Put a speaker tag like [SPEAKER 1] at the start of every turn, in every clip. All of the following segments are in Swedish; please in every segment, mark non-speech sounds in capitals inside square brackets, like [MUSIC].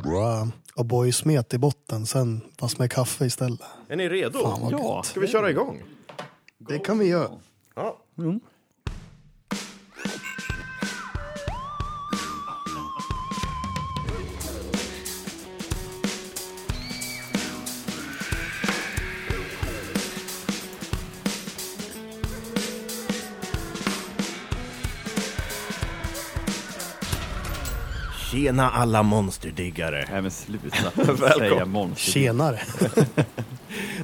[SPEAKER 1] stora O'boy-smet i botten sen, fast med kaffe istället.
[SPEAKER 2] Är ni redo?
[SPEAKER 1] Fan vad
[SPEAKER 3] Ja.
[SPEAKER 1] gött.
[SPEAKER 2] Ska vi köra igång?
[SPEAKER 1] Det kan vi göra.
[SPEAKER 2] Ja. Tjena alla monsterdiggare!
[SPEAKER 3] Nej
[SPEAKER 2] [LAUGHS]
[SPEAKER 3] men sluta säga
[SPEAKER 2] Välkommen.
[SPEAKER 3] monster.
[SPEAKER 1] Tjenare.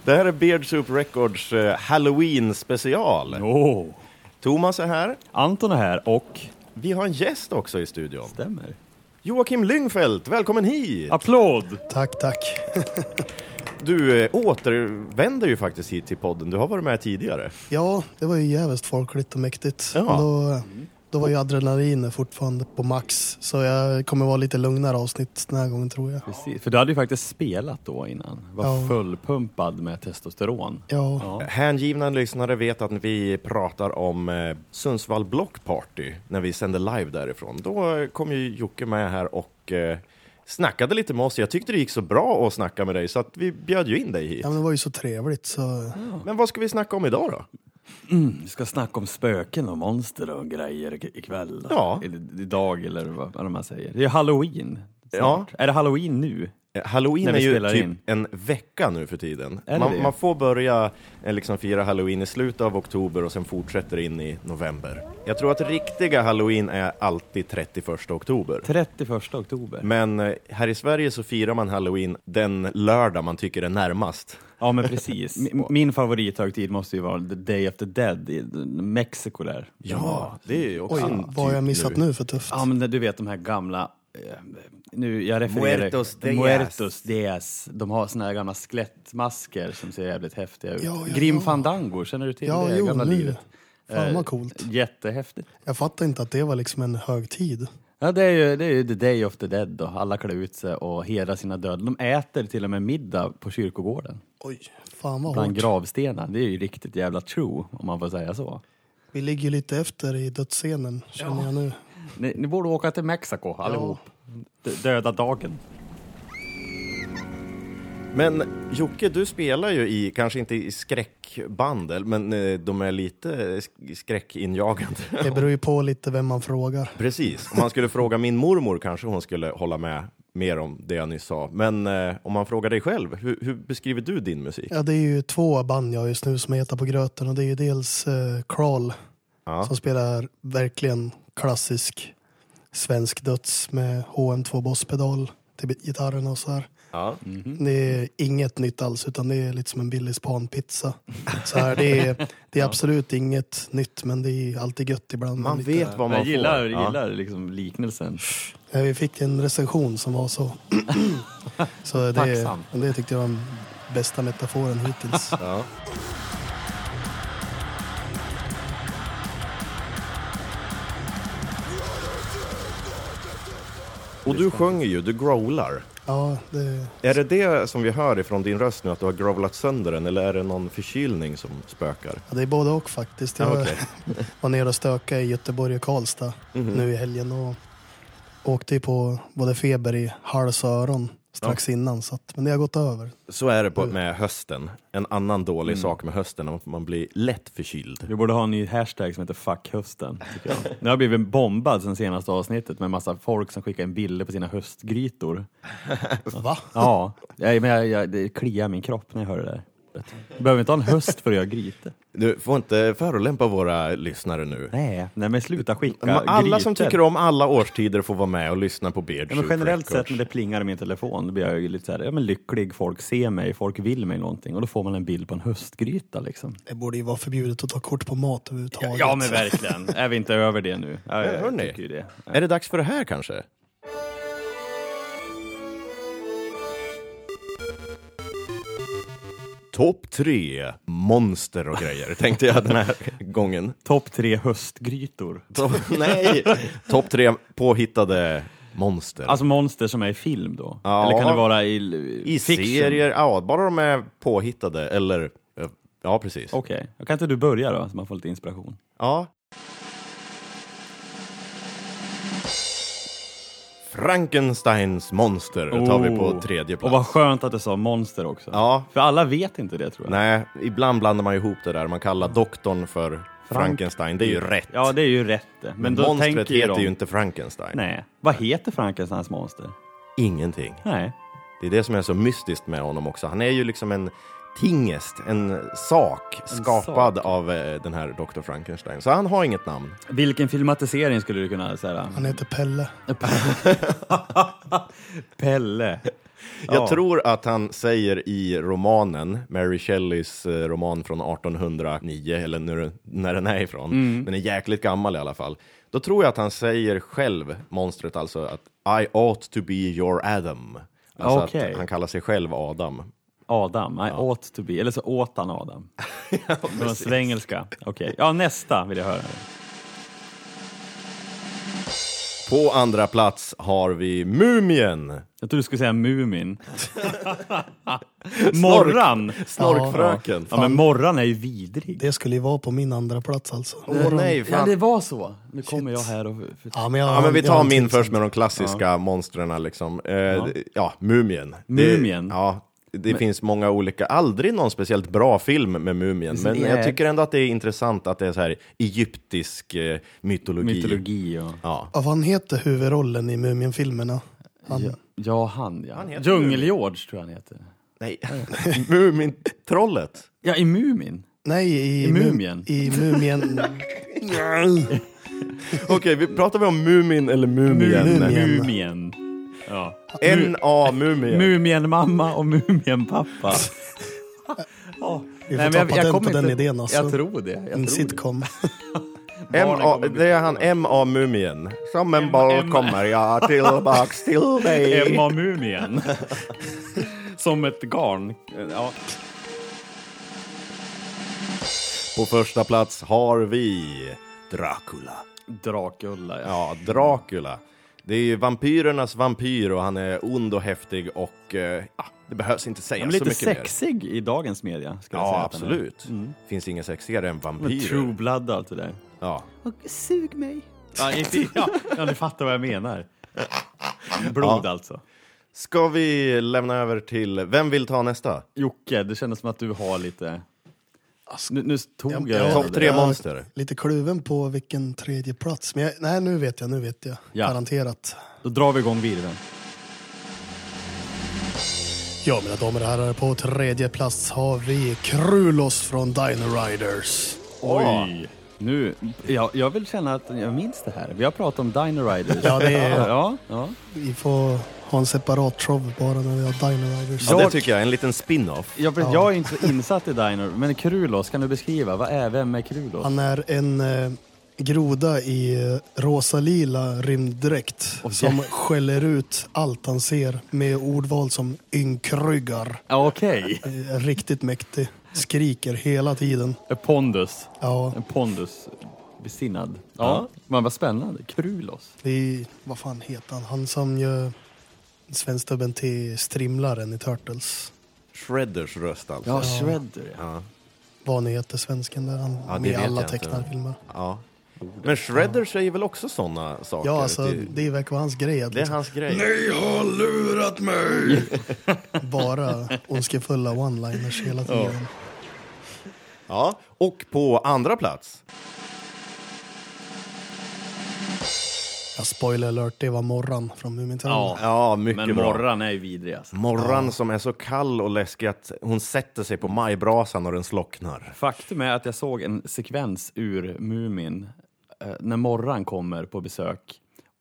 [SPEAKER 2] Det här är Beard Soup Records eh, Halloween special.
[SPEAKER 3] Åh.
[SPEAKER 2] Thomas är här.
[SPEAKER 3] Anton är här och
[SPEAKER 2] Vi har en gäst också i studion.
[SPEAKER 3] stämmer.
[SPEAKER 2] Joakim Lyngfeldt, välkommen hit!
[SPEAKER 3] Applåd!
[SPEAKER 1] Tack, tack.
[SPEAKER 2] Du eh, återvänder ju faktiskt hit till podden, du har varit med tidigare.
[SPEAKER 1] Ja, det var ju jävligt folkligt och mäktigt.
[SPEAKER 2] Ja.
[SPEAKER 1] Då, då var ju adrenalinet fortfarande på max, så jag kommer vara lite lugnare avsnitt den här gången tror jag.
[SPEAKER 3] Precis, för du hade ju faktiskt spelat då innan. Var
[SPEAKER 1] Ja.
[SPEAKER 3] fullpumpad med testosteron.
[SPEAKER 1] Ja,
[SPEAKER 3] Ja.
[SPEAKER 2] Hängivna lyssnare vet att vi pratar om eh, Sundsvall Block Party när vi sände live därifrån. Då eh, kom ju Jocke med här och eh, snackade lite med oss. Jag tyckte det gick så bra att snacka med dig så att vi bjöd ju in dig hit.
[SPEAKER 1] ja men det var ju så trevligt så
[SPEAKER 2] Men vad ska vi snacka om idag då?
[SPEAKER 3] Vi ska snacka om spöken och monster och grejer ik- ikväll.
[SPEAKER 2] Ja.
[SPEAKER 3] Eller idag eller vad, vad man säger. Det är halloween.
[SPEAKER 2] Ja.
[SPEAKER 3] Snart. Är det halloween nu?
[SPEAKER 2] Eh, Halloween
[SPEAKER 3] När vi
[SPEAKER 2] är ju
[SPEAKER 3] spelar
[SPEAKER 2] typ
[SPEAKER 3] in.
[SPEAKER 2] en vecka nu för tiden.
[SPEAKER 3] Är det
[SPEAKER 2] Man,
[SPEAKER 3] det?
[SPEAKER 2] man får börja eh, liksom fira halloween i slutet av oktober och sen fortsätter in i november. Jag tror att riktiga halloween är alltid 31 oktober.
[SPEAKER 3] 31 oktober.
[SPEAKER 2] Men eh, här i Sverige så firar man halloween den lördag man tycker är närmast.
[SPEAKER 3] Ja
[SPEAKER 2] [LAUGHS]
[SPEAKER 3] men precis. Min, min favorithögtid måste ju vara The Day of the Dead i Mexiko där.
[SPEAKER 2] Ja, det är ju också
[SPEAKER 1] oj,
[SPEAKER 2] en
[SPEAKER 1] vad har jag missat nu för tufft?
[SPEAKER 3] Ja, men du vet de här gamla... eh, Nu, jag refererar...
[SPEAKER 2] Muertos Días.
[SPEAKER 3] Muertos Días. De har såna här gamla skelettmasker som ser jävligt häftiga ut.
[SPEAKER 1] Ja, ja,
[SPEAKER 3] Grim
[SPEAKER 1] ja.
[SPEAKER 3] Fandango, känner du till
[SPEAKER 1] Ja,
[SPEAKER 3] det
[SPEAKER 1] jo,
[SPEAKER 3] gamla
[SPEAKER 1] nu.
[SPEAKER 3] livet?
[SPEAKER 1] Fan
[SPEAKER 3] Eh,
[SPEAKER 1] vad coolt.
[SPEAKER 3] Jättehäftigt.
[SPEAKER 1] Jag fattar inte att det var liksom en högtid.
[SPEAKER 3] Ja, det är, ju, det är ju the day of the dead då. Alla klär ut sig och hedrar sina döda. De äter till och med middag på kyrkogården.
[SPEAKER 1] Oj, fan vad
[SPEAKER 3] Bland
[SPEAKER 1] hårt.
[SPEAKER 3] gravstenar. Det är ju riktigt jävla true, om man får säga så.
[SPEAKER 1] Vi ligger ju lite efter i dödsscenen känner jag nu.
[SPEAKER 3] Ni, ni borde åka till Mexiko allihop. D- Döda dagen.
[SPEAKER 2] Men Jocke, du spelar ju i, kanske inte i skräckband, eller- men eh, de är lite eh, sk- skräckinjagande.
[SPEAKER 1] Det beror ju på lite vem man frågar.
[SPEAKER 2] Precis. Om man skulle fråga min mormor kanske hon skulle hålla med mer om det jag nyss sa. Men eh, om man frågar dig själv, hur, hur beskriver du din musik?
[SPEAKER 1] Ja, det är ju två band jag har just nu som heter på gröten och det är ju dels eh, Crawl
[SPEAKER 2] Ja.
[SPEAKER 1] som spelar verkligen klassisk svensk döds med HM2 Boss-pedal till gitarrerna och så här.
[SPEAKER 2] Ja.
[SPEAKER 1] Det är inget nytt alls utan det är lite som en billig spanpizza. Så här, det, är, det är absolut inget nytt men det är alltid gött ibland.
[SPEAKER 2] Man
[SPEAKER 1] Lite-
[SPEAKER 2] vet vad man
[SPEAKER 3] Jag gillar,
[SPEAKER 2] får.
[SPEAKER 3] gillar liksom liknelsen.
[SPEAKER 1] Ja, vi fick en recension som var
[SPEAKER 2] [CLEARS THROAT]
[SPEAKER 1] så. så det,
[SPEAKER 3] Tacksam.
[SPEAKER 1] det tyckte jag var den bästa metaforen hittills.
[SPEAKER 2] [LAUGHS] Ja. Och du sjunger ju, du growlar.
[SPEAKER 1] Ja, det,
[SPEAKER 2] Är det det som vi hör ifrån din röst nu, att du har growlat sönder den, eller är det någon förkylning som spökar?
[SPEAKER 1] ja, det är både och faktiskt. Jag
[SPEAKER 2] Ja, okej.
[SPEAKER 1] var nere och stökade i Göteborg och Karlstad
[SPEAKER 2] Mhm.
[SPEAKER 1] nu i helgen och åkte ju på både feber i hals och öron strax innan. Så att, men det har gått över.
[SPEAKER 2] Så är det på, med hösten. En annan dålig
[SPEAKER 3] Mm.
[SPEAKER 2] sak med hösten, att man blir lätt förkyld.
[SPEAKER 3] Typ. Vi borde ha en ny hashtag som heter Fuck hösten. Tycker jag. Nu har jag blivit bombad sen senaste avsnittet med massa folk som skickar in bilder på sina
[SPEAKER 2] [LAUGHS]
[SPEAKER 3] höstgrytor.
[SPEAKER 1] Va?
[SPEAKER 3] Ja, jag, men jag, jag, det kliar min kropp när jag hör det där. Du behöver inte ha en höst för att göra grytor.
[SPEAKER 2] Du får inte förolämpa våra lyssnare nu.
[SPEAKER 3] Nej, nej men sluta skicka
[SPEAKER 2] Men alla som
[SPEAKER 3] grytor.
[SPEAKER 2] tycker om alla årstider får vara med och lyssna på Beard
[SPEAKER 3] Ja, men
[SPEAKER 2] Soup
[SPEAKER 3] generellt
[SPEAKER 2] Records.
[SPEAKER 3] sett när det plingar i min telefon då blir jag ju lite så här, ja, men lycklig, folk ser mig, folk vill mig någonting och då får man en bild på en höstgryta liksom.
[SPEAKER 1] Det borde ju vara förbjudet att ta kort på mat överhuvudtaget.
[SPEAKER 3] Ja men verkligen, är vi inte över det nu? Ja, jag
[SPEAKER 2] hörni.
[SPEAKER 3] tycker ju det.
[SPEAKER 2] Är det dags för det här kanske? Topp tre monster och grejer, tänkte jag den [LAUGHS] här gången.
[SPEAKER 3] Topp tre höstgrytor.
[SPEAKER 2] Topp- [LAUGHS] nej! Topp tre påhittade monster.
[SPEAKER 3] Alltså monster som är i film då?
[SPEAKER 2] Ja.
[SPEAKER 3] Eller kan det vara i,
[SPEAKER 2] I
[SPEAKER 3] fiction?
[SPEAKER 2] serier, ja, bara de är påhittade, eller... Ja, precis.
[SPEAKER 3] Okej, kan inte du börja då så man får lite inspiration?
[SPEAKER 2] Ja. Frankensteins monster tar vi på tredje
[SPEAKER 3] Oh. Och
[SPEAKER 2] plats.
[SPEAKER 3] vad skönt att du sa monster också.
[SPEAKER 2] Ja,
[SPEAKER 3] För alla vet inte det tror jag.
[SPEAKER 2] nej, ibland blandar man ihop det där. Man kallar doktorn för Frankenstein. Det är ju rätt.
[SPEAKER 3] Ja, det är ju rätt det. Men,
[SPEAKER 2] Men
[SPEAKER 3] då
[SPEAKER 2] monstret
[SPEAKER 3] tänker ju
[SPEAKER 2] heter
[SPEAKER 3] de...
[SPEAKER 2] ju inte Frankenstein.
[SPEAKER 3] Nej. Vad heter Frankensteins monster?
[SPEAKER 2] Ingenting.
[SPEAKER 3] Nej.
[SPEAKER 2] Det är det som är så mystiskt med honom också. Han är ju liksom en tingest, en sak skapad av eh, den här Dr. Frankenstein. Så han har inget namn.
[SPEAKER 3] Vilken filmatisering skulle du
[SPEAKER 2] [LAUGHS]
[SPEAKER 3] kunna säga?
[SPEAKER 1] Han heter Pelle.
[SPEAKER 3] Pelle.
[SPEAKER 2] Jag tror att han säger i romanen, Mary Shelleys eh, roman från 1809, eller när, när den är ifrån,
[SPEAKER 3] Mm.
[SPEAKER 2] den är jäkligt gammal i alla fall. Då tror jag att han säger själv, monstret alltså, att I ought to be your Adam. Alltså
[SPEAKER 3] Okej.
[SPEAKER 2] att han kallar sig själv Adam.
[SPEAKER 3] Adam. I ought to be. Eller så åt
[SPEAKER 2] [LAUGHS]
[SPEAKER 3] han Adam. Från svengelska. Okej. Ja, nästa vill jag höra.
[SPEAKER 2] På andra plats har vi Mumien.
[SPEAKER 3] Jag trodde du skulle
[SPEAKER 1] [LAUGHS]
[SPEAKER 3] säga Mumin. Morran!
[SPEAKER 2] Snorkfröken.
[SPEAKER 3] Ja, men Morran är ju vidrig.
[SPEAKER 1] Det skulle ju vara på min andra plats alltså.
[SPEAKER 2] Åh nej, fan.
[SPEAKER 3] var så. Nu kommer jag här och...
[SPEAKER 1] Ja, men, jag,
[SPEAKER 2] Ja, men vi
[SPEAKER 1] jag har
[SPEAKER 2] tar
[SPEAKER 1] en
[SPEAKER 2] min
[SPEAKER 1] till
[SPEAKER 2] först
[SPEAKER 1] sen.
[SPEAKER 2] med de klassiska monstren. Liksom. Eh, ja. Mumien.
[SPEAKER 3] Mumien?
[SPEAKER 2] Det, ja, det finns många olika, aldrig någon speciellt bra film med Mumien, men
[SPEAKER 3] Nej.
[SPEAKER 2] jag tycker ändå att Alltså, det är intressant att det är så här egyptisk eh, mytologi.
[SPEAKER 3] Mytologi och...
[SPEAKER 2] Ja.
[SPEAKER 1] Ja, vad han heter huvudrollen i Muminfilmerna? Han,
[SPEAKER 3] Ja, ja han ja.
[SPEAKER 2] Han heter
[SPEAKER 3] Djungel-George tror jag han heter.
[SPEAKER 2] Nej, [LAUGHS] Mumintrollet.
[SPEAKER 3] Ja, i Mumin.
[SPEAKER 1] Nej, i,
[SPEAKER 3] I
[SPEAKER 1] Mu-
[SPEAKER 3] Mumien.
[SPEAKER 1] I Mumien.
[SPEAKER 3] [LAUGHS]
[SPEAKER 2] Okej, vi pratar vi om Mumin eller Mumien?
[SPEAKER 1] Mumien.
[SPEAKER 3] Mumien. Ja.
[SPEAKER 2] N.A. Mumien.
[SPEAKER 3] Mumien-mamma
[SPEAKER 1] [LAUGHS]
[SPEAKER 3] och Mumien-pappa. Ja.
[SPEAKER 1] Vi får
[SPEAKER 3] men
[SPEAKER 1] ta patent
[SPEAKER 3] kommer
[SPEAKER 1] på den idén, alltså.
[SPEAKER 3] Jag tror det. Jag tror
[SPEAKER 1] en
[SPEAKER 3] det.
[SPEAKER 1] sitcom.
[SPEAKER 2] M.A. Det är han M.A. Mumien. Som en boll
[SPEAKER 3] M.A.
[SPEAKER 2] kommer jag tillbaks till [LAUGHS] dig.
[SPEAKER 3] Emma Mumien. [LAUGHS] Som ett garn. Ja.
[SPEAKER 2] På första plats har vi Dracula.
[SPEAKER 3] Dracula, ja.
[SPEAKER 2] Ja, Dracula. Det är ju vampyrernas vampyr och han är ond och häftig och eh, ja, det behövs inte säga
[SPEAKER 3] Han är
[SPEAKER 2] så
[SPEAKER 3] lite
[SPEAKER 2] mycket mer.
[SPEAKER 3] sexig i dagens media. Ska jag
[SPEAKER 2] Ja,
[SPEAKER 3] säga att den är.
[SPEAKER 2] absolut. Finns inget sexigare än
[SPEAKER 3] Mm. Men True
[SPEAKER 2] vampyrer.
[SPEAKER 3] blood och allt det där.
[SPEAKER 2] Ja.
[SPEAKER 3] Och sug mig. Ja, inte, ja, ja, ni fattar vad jag menar. Blod alltså.
[SPEAKER 2] Ska vi lämna över till, vem vill ta nästa?
[SPEAKER 3] Jocke, det kändes som att du har lite... Nu, nu tog jag,
[SPEAKER 1] Ja,
[SPEAKER 3] jag
[SPEAKER 2] Topp tre
[SPEAKER 1] jag-
[SPEAKER 2] monster.
[SPEAKER 1] Lite kluven på vilken tredje plats. Men jag, nej, nu vet jag, nu vet jag.
[SPEAKER 3] Ja.
[SPEAKER 1] Garanterat.
[SPEAKER 3] Då drar vi igång virveln.
[SPEAKER 1] Ja, mina damer och herrar, på tredje plats har vi Krulos från Dino Riders.
[SPEAKER 3] Oj! Nu, jag, jag vill känna att jag minns det här. Vi har pratat om Dino Riders.
[SPEAKER 1] Ja, det är-
[SPEAKER 3] ja, ja.
[SPEAKER 1] Vi får ha en separat show bara när vi har Dino Riders.
[SPEAKER 2] Ja, det
[SPEAKER 3] Jag-
[SPEAKER 2] tycker jag, en liten spin-off.
[SPEAKER 3] Jag, vet- jag är inte så insatt i Dino, men Krulos, kan du beskriva? Vad är, vem är Krulos?
[SPEAKER 1] Han är en eh, groda i eh, rosa-lila rymddräkt som skäller ut allt han ser med ordval som ynkryggar.
[SPEAKER 3] Ja, Okej.
[SPEAKER 1] Eh, Riktigt mäktig. Skriker hela tiden.
[SPEAKER 3] Pondus.
[SPEAKER 1] Ja,
[SPEAKER 3] En pondus. Besinnad. Ja. Men vad spännande. Krulos.
[SPEAKER 1] det är... Vad fan heter han? Han som gör svenstubben till strimlaren i Turtles.
[SPEAKER 2] Shredders röst alltså.
[SPEAKER 3] Ja, Shredder. Ja.
[SPEAKER 1] Vad nu heter svensken där. Han
[SPEAKER 2] Ja, det
[SPEAKER 1] med i
[SPEAKER 2] vet
[SPEAKER 1] alla
[SPEAKER 2] jag inte.
[SPEAKER 1] tecknarfilmer.
[SPEAKER 2] Ja. Men Shredder säger väl också sådana saker?
[SPEAKER 1] Ja, alltså
[SPEAKER 2] Det-
[SPEAKER 1] det verkar vara hans grej. Att
[SPEAKER 2] det är
[SPEAKER 1] liksom
[SPEAKER 2] hans grej.
[SPEAKER 1] bara
[SPEAKER 2] [LAUGHS]
[SPEAKER 1] ondskefulla one-liners hela tiden.
[SPEAKER 2] Ja, och på andra plats.
[SPEAKER 1] Ja, spoiler alert, det var Morran från Mumintrollen.
[SPEAKER 3] Ja.
[SPEAKER 2] Ja, mycket
[SPEAKER 3] Men
[SPEAKER 2] bra.
[SPEAKER 3] Morran är ju vidrig alltså.
[SPEAKER 2] Morran som är så kall och läskig att hon sätter sig på majbrasan och den slocknar.
[SPEAKER 3] Faktum är att jag såg en sekvens ur Mumin eh, när Morran kommer på besök.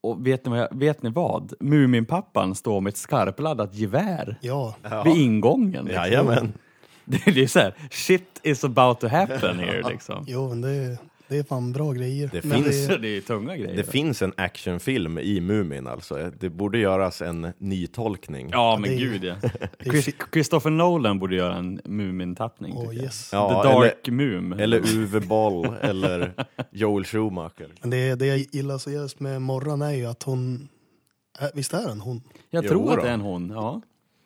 [SPEAKER 3] Och vet ni vad? Jag, vet ni vad? Muminpappan står med ett skarpladdat gevär
[SPEAKER 1] Ja,
[SPEAKER 3] vid ingången. liksom.
[SPEAKER 2] Jajamän.
[SPEAKER 3] [LAUGHS] Det är ju så här, shit is about to happen here liksom.
[SPEAKER 1] jo men det, det är fan bra grejer.
[SPEAKER 2] Det
[SPEAKER 1] men
[SPEAKER 2] finns-
[SPEAKER 1] det,
[SPEAKER 3] Så det är ju tunga grejer.
[SPEAKER 2] Det finns en actionfilm i Mumin alltså. Det borde göras en nytolkning.
[SPEAKER 3] ja men
[SPEAKER 1] det är-
[SPEAKER 3] gud ja.
[SPEAKER 1] [LAUGHS] det är
[SPEAKER 3] Chris,
[SPEAKER 1] fi-
[SPEAKER 3] Christopher Nolan borde göra en Mumintappning.
[SPEAKER 1] Åh,
[SPEAKER 3] tycker jag.
[SPEAKER 1] yes.
[SPEAKER 2] Ja,
[SPEAKER 3] The Dark
[SPEAKER 2] eller-
[SPEAKER 3] Mum.
[SPEAKER 2] Eller Uwe Boll eller Joel Schumacher.
[SPEAKER 1] Men det, det jag gillar så just med Morran är ju att hon... Äh, visst är den hon?
[SPEAKER 3] jag
[SPEAKER 2] Jo
[SPEAKER 3] tror
[SPEAKER 2] då.
[SPEAKER 3] att det är en hon. Ja.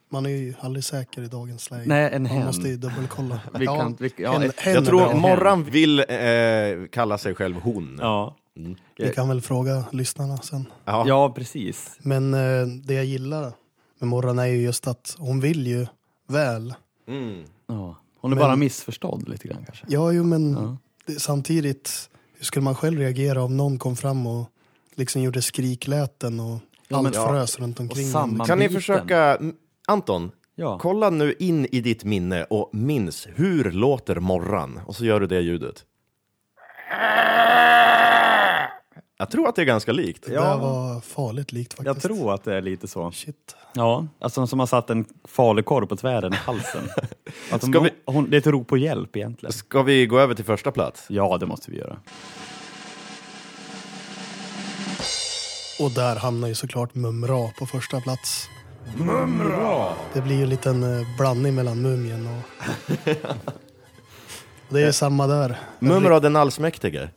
[SPEAKER 1] Man är ju aldrig säker i dagens läge.
[SPEAKER 3] Nej, en
[SPEAKER 1] Man
[SPEAKER 3] hen.
[SPEAKER 1] måste ju dubbelkolla.
[SPEAKER 3] Vi kan- vi- ja,
[SPEAKER 1] hen,
[SPEAKER 3] jag
[SPEAKER 1] hen
[SPEAKER 2] Jag
[SPEAKER 1] är
[SPEAKER 2] tror
[SPEAKER 1] bra.
[SPEAKER 2] Morran vill eh, kalla sig själv hon.
[SPEAKER 3] Ja.
[SPEAKER 1] Vi kan väl fråga lyssnarna sen.
[SPEAKER 2] Ja,
[SPEAKER 3] Ja, precis.
[SPEAKER 1] Men eh, det jag gillar med Morran är ju just att hon vill ju väl.
[SPEAKER 2] Mm.
[SPEAKER 3] Ja. Hon är
[SPEAKER 1] Men-
[SPEAKER 3] bara missförstådd lite grann kanske.
[SPEAKER 1] Ja, jo, men
[SPEAKER 3] Ja.
[SPEAKER 1] det, samtidigt, hur skulle man själv reagera om någon kom fram och liksom gjorde skrikläten och
[SPEAKER 3] Ja, men-
[SPEAKER 1] allt frös runt
[SPEAKER 3] Och
[SPEAKER 1] omkring
[SPEAKER 3] samma
[SPEAKER 2] Kan ni
[SPEAKER 3] biten.
[SPEAKER 2] försöka... Anton,
[SPEAKER 3] Ja.
[SPEAKER 2] kolla nu in i ditt minne och minns hur låter morran? Och så gör du det ljudet. Jag tror att det är ganska likt.
[SPEAKER 1] Det där var farligt likt
[SPEAKER 3] Jag
[SPEAKER 1] faktiskt.
[SPEAKER 3] tror att det är lite så.
[SPEAKER 1] Shit.
[SPEAKER 3] Ja, alltså som har satt en falukorv på tvären i halsen.
[SPEAKER 1] [LAUGHS]
[SPEAKER 3] Att hon,
[SPEAKER 2] Ska vi-
[SPEAKER 3] hon, det är ett rop på hjälp egentligen.
[SPEAKER 2] Ska vi gå över till första plats?
[SPEAKER 3] Ja, det måste vi göra.
[SPEAKER 1] Och där hamnar ju såklart Mumra på första plats. Mumra! Det blir ju en liten eh, blandning mellan Mumien
[SPEAKER 3] [LAUGHS]
[SPEAKER 1] och... och det är ju samma där.
[SPEAKER 2] Mumra den allsmäktige.